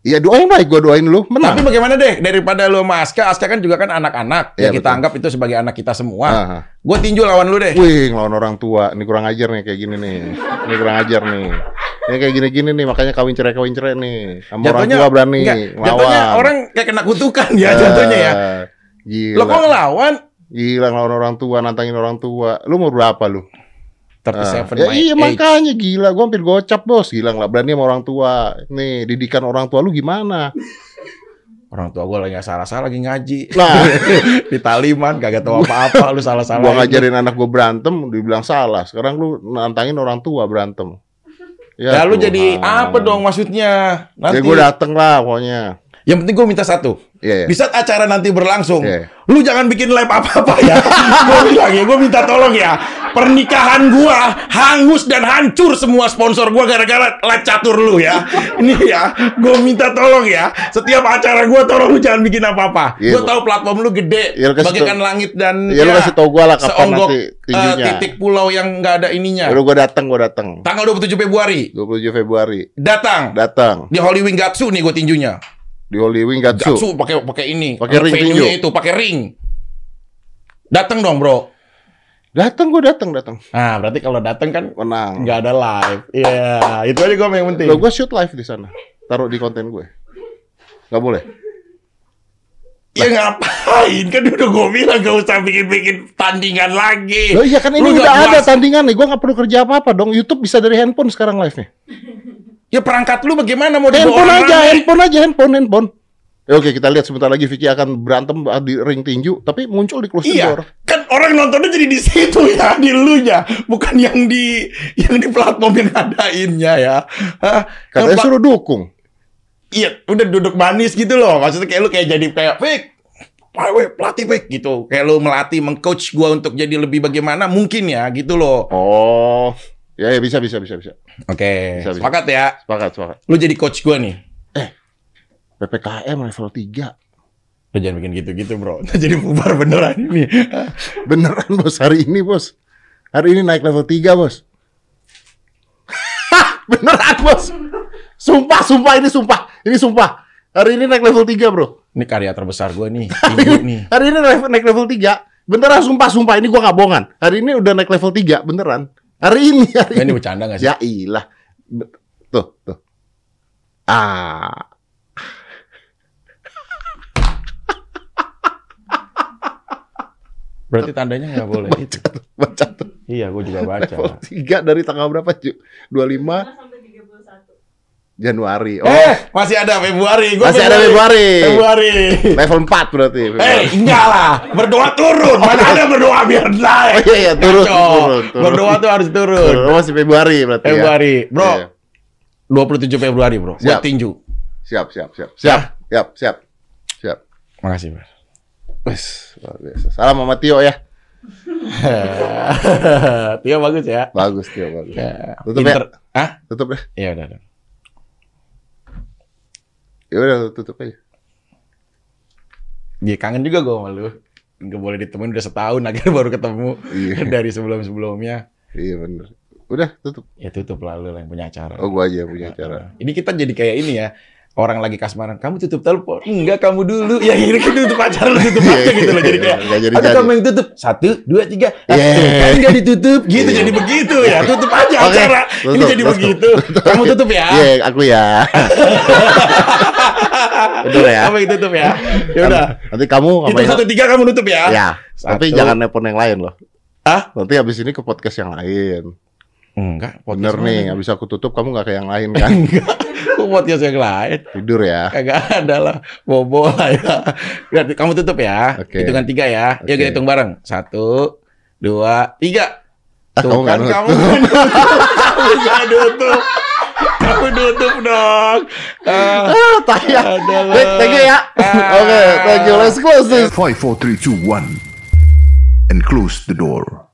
Speaker 1: Iya doain baik gua doain lu
Speaker 2: Tapi
Speaker 1: menang.
Speaker 2: bagaimana deh daripada lu sama Aska, Aska kan juga kan anak-anak.
Speaker 1: Iya,
Speaker 2: Ya, kita
Speaker 1: betul.
Speaker 2: anggap itu sebagai anak kita semua.
Speaker 1: Ah, ah.
Speaker 2: Gue tinju lawan lu deh.
Speaker 1: Wih, ngelawan orang tua. Ini kurang ajar nih kayak gini nih. Ini kurang ajar nih. Ini kayak gini-gini nih, makanya kawin cerai-kawin cerai nih. Sama orang tua berani
Speaker 2: enggak,
Speaker 1: ngelawan.
Speaker 2: jatuhnya orang kayak kena kutukan ya
Speaker 1: Eh,
Speaker 2: jatuhnya ya.
Speaker 1: Gila.
Speaker 2: Lo kok ngelawan?
Speaker 1: Gila ngelawan orang tua, nantangin orang tua. Lu mau berapa lu?
Speaker 2: 37
Speaker 1: ya
Speaker 2: my
Speaker 1: iya
Speaker 2: age.
Speaker 1: makanya gila, gua hampir gocap bos. Gila nggak berani sama orang tua. Nih, didikan orang tua lu gimana?
Speaker 2: Orang tua gue lagi nggak salah-salah lagi ngaji.
Speaker 1: Nah,
Speaker 2: Di taliman kagak tahu apa-apa lu salah-salah.
Speaker 1: gua ngajarin anak gua berantem, dibilang salah. Sekarang lu nantangin orang tua berantem.
Speaker 2: Ya, lu jadi
Speaker 1: Tuhan.
Speaker 2: apa dong maksudnya?
Speaker 1: ah. Ya
Speaker 2: Nanti
Speaker 1: gue dateng lah pokoknya.
Speaker 2: yang penting gue minta satu.
Speaker 1: Iya, iya.
Speaker 2: Di saat acara nanti berlangsung,
Speaker 1: Iya.
Speaker 2: lu jangan bikin live apa-apa ya. gue bilang ya, gue minta tolong ya. Pernikahan gua hangus dan hancur semua sponsor gua gara-gara live catur lu ya. Ini ya, gue minta tolong ya. Setiap acara gua tolong lu jangan bikin apa-apa.
Speaker 1: Iya,
Speaker 2: Gua
Speaker 1: Bu.
Speaker 2: tahu platform lu gede,
Speaker 1: Iya, lu kasih
Speaker 2: bagaikan
Speaker 1: tau-
Speaker 2: langit dan ya,
Speaker 1: Iya, lu kasih tau gua lah kapan
Speaker 2: seonggok,
Speaker 1: nanti tinjunya. Ya,
Speaker 2: eh, titik pulau yang nggak ada ininya.
Speaker 1: Baru gue datang, gue datang.
Speaker 2: Tanggal 27 Februari
Speaker 1: 27 Februari
Speaker 2: datang
Speaker 1: datang
Speaker 2: di Holy Wing Gatsu nih gue tinjunya.
Speaker 1: di Holy Wing Gatsu.
Speaker 2: Gatsu pakai pakai ini.
Speaker 1: Pakai ring
Speaker 2: Venue-nya
Speaker 1: tinju.
Speaker 2: itu pakai ring. Datang dong, Bro.
Speaker 1: Datang gue datang datang.
Speaker 2: Nah, berarti kalau datang kan
Speaker 1: Menang.
Speaker 2: nggak ada live. Iya, itu aja gue yang penting.
Speaker 1: Lo gue shoot live di sana. Taruh di konten gue. Gak boleh.
Speaker 2: Ya ngapain? Kan udah gue bilang gak usah bikin-bikin tandingan lagi.
Speaker 1: Loh, iya kan ini
Speaker 2: Eh, Lu nggak
Speaker 1: udah ada
Speaker 2: jelas.
Speaker 1: tandingan nih. Gue nggak perlu kerja apa-apa dong. YouTube bisa dari handphone sekarang live nya.
Speaker 2: Ya perangkat lu bagaimana mau dibawa
Speaker 1: Handphone
Speaker 2: orang
Speaker 1: aja,
Speaker 2: rame?
Speaker 1: handphone aja, handphone, handphone. Ya, oke kita lihat sebentar lagi Vicky akan berantem ah, di ring tinju, tapi muncul di close the
Speaker 2: Iya,
Speaker 1: door.
Speaker 2: kan orang nontonnya jadi di situ ya, di elunya, bukan yang di yang di platform yang ngadainnya ya. Hah?
Speaker 1: Katanya
Speaker 2: Yang ba-
Speaker 1: suruh dukung.
Speaker 2: iya udah duduk manis gitu loh maksudnya kayak lu kayak jadi kayak Fik Pak, weh, pelatih Fik gitu kayak lu melatih mengcoach gua untuk jadi lebih bagaimana mungkin ya gitu loh
Speaker 1: Oh, ya, ya bisa bisa bisa bisa.
Speaker 2: oke
Speaker 1: Bisa, bisa.
Speaker 2: sepakat ya
Speaker 1: Sepakat sepakat.
Speaker 2: lu jadi coach gua nih
Speaker 1: Eh, PPKM level 3
Speaker 2: lu jangan bikin gitu-gitu bro Ntar jadi bubar beneran ini
Speaker 1: Beneran bos hari ini bos. Hari ini naik level 3 bos. Hah, Beneran bos. Sumpah, sumpah ini sumpah. Ini sumpah. Hari ini naik level 3 bro.
Speaker 2: ini karya terbesar gua nih tinju nih
Speaker 1: Hari ini naik, naik level 3. Beneran sumpah, sumpah ini gua gak bohongan. Hari ini udah naik level 3 beneran. Hari ini, Ya hari
Speaker 2: ini
Speaker 1: ini.
Speaker 2: bercanda gak sih
Speaker 1: Ya ilah. Be- Tuh, tuh. Ah.
Speaker 2: Berarti tandanya nggak boleh itu.
Speaker 1: Baca tuh
Speaker 2: Iya, gue juga
Speaker 1: level
Speaker 2: baca.
Speaker 1: 3 dari tanggal berapa, Ju? 25
Speaker 5: sampai 31.
Speaker 1: Januari. Oh,
Speaker 2: Eh, masih ada Februari. Gua
Speaker 1: masih ada Februari.
Speaker 2: Februari.
Speaker 1: Level 4 berarti.
Speaker 2: Eh, enggak lah. Berdoa turun. Mana ada berdoa biar
Speaker 1: Oh,
Speaker 2: naik.
Speaker 1: iya, iya, turun,
Speaker 2: Kacau.
Speaker 1: turun, turun.
Speaker 2: Berdoa tuh harus turun.
Speaker 1: Februari. Masih Februari berarti ya.
Speaker 2: Februari. Bro,
Speaker 1: Iya.
Speaker 2: 27 Februari, Bro. Buat
Speaker 1: Siap.
Speaker 2: tinju.
Speaker 1: Siap, siap, siap. Siap, siap, siap. Siap.
Speaker 2: Makasih, Bro.
Speaker 1: Wes, luar biasa. Salam sama Tio ya.
Speaker 2: Tio bagus ya.
Speaker 1: Bagus Tio, bagus.
Speaker 2: Ya,
Speaker 1: Tutup
Speaker 2: pinter.
Speaker 1: ya.
Speaker 2: Hah?
Speaker 1: Tutup ya.
Speaker 2: Iya udah, udah.
Speaker 1: Ya udah tutup aja.
Speaker 2: Dia kangen juga gue sama lu. Gak boleh ditemuin udah setahun akhirnya baru ketemu
Speaker 1: Iya.
Speaker 2: dari sebelum-sebelumnya.
Speaker 1: Iya bener. Udah tutup.
Speaker 2: Ya tutup lah lu lah yang punya acara.
Speaker 1: Oh gua aja yang
Speaker 2: Ya.
Speaker 1: punya acara.
Speaker 2: Ini kita jadi kayak ini ya. Orang lagi kasmaran, kamu tutup telepon. Enggak, kamu dulu. Ya ini kan tutup acara, lu tutup aja gitu loh. Jadi kayak,
Speaker 1: Iya, Nggak jadi
Speaker 2: aduh
Speaker 1: jadi.
Speaker 2: kamu yang tutup. Satu, dua, tiga. Ah,
Speaker 1: Yeah.
Speaker 2: tuh, Kan nggak ditutup. Gitu, jadi begitu ya. Tutup aja
Speaker 1: Iya. Oke,
Speaker 2: acara. ini
Speaker 1: tutup,
Speaker 2: jadi
Speaker 1: tutup,
Speaker 2: begitu. Kamu tutup ya.
Speaker 1: Iya, aku ya. Betul ya.
Speaker 2: Kamu yang tutup ya. Ya udah.
Speaker 1: Nanti kamu sama
Speaker 2: Hitung
Speaker 1: yang-
Speaker 2: satu, tiga, kamu nutup ya.
Speaker 1: Ya. Tapi
Speaker 2: Satu.
Speaker 1: jangan nelpon yang lain loh.
Speaker 2: Hah?
Speaker 1: Nanti habis ini ke podcast yang lain.
Speaker 2: Enggak,
Speaker 1: Bener
Speaker 2: podcast
Speaker 1: nih,
Speaker 2: mana?
Speaker 1: habis aku tutup kamu nggak kayak yang lain kan?
Speaker 2: Enggak. Kok podcast yang lain?
Speaker 1: Tidur ya.
Speaker 2: Kagak ada lah. Bobo lah ya. Berarti kamu tutup ya.
Speaker 1: Oke.
Speaker 2: Hitungan tiga ya. Yuk
Speaker 1: Oke.
Speaker 2: kita hitung bareng. Satu, dua, tiga.
Speaker 1: Ah, kamu nggak nutup.
Speaker 2: kamu nggak nutup. Kamu nggak nutup. Kamu nutup dong. Ah,
Speaker 1: Ah, tayang.
Speaker 2: Adalah.
Speaker 1: Wait, thank you ya.
Speaker 2: Ah.
Speaker 1: Oke, thank you. Let's close this.
Speaker 3: Five, four, three, two, one, and close the door.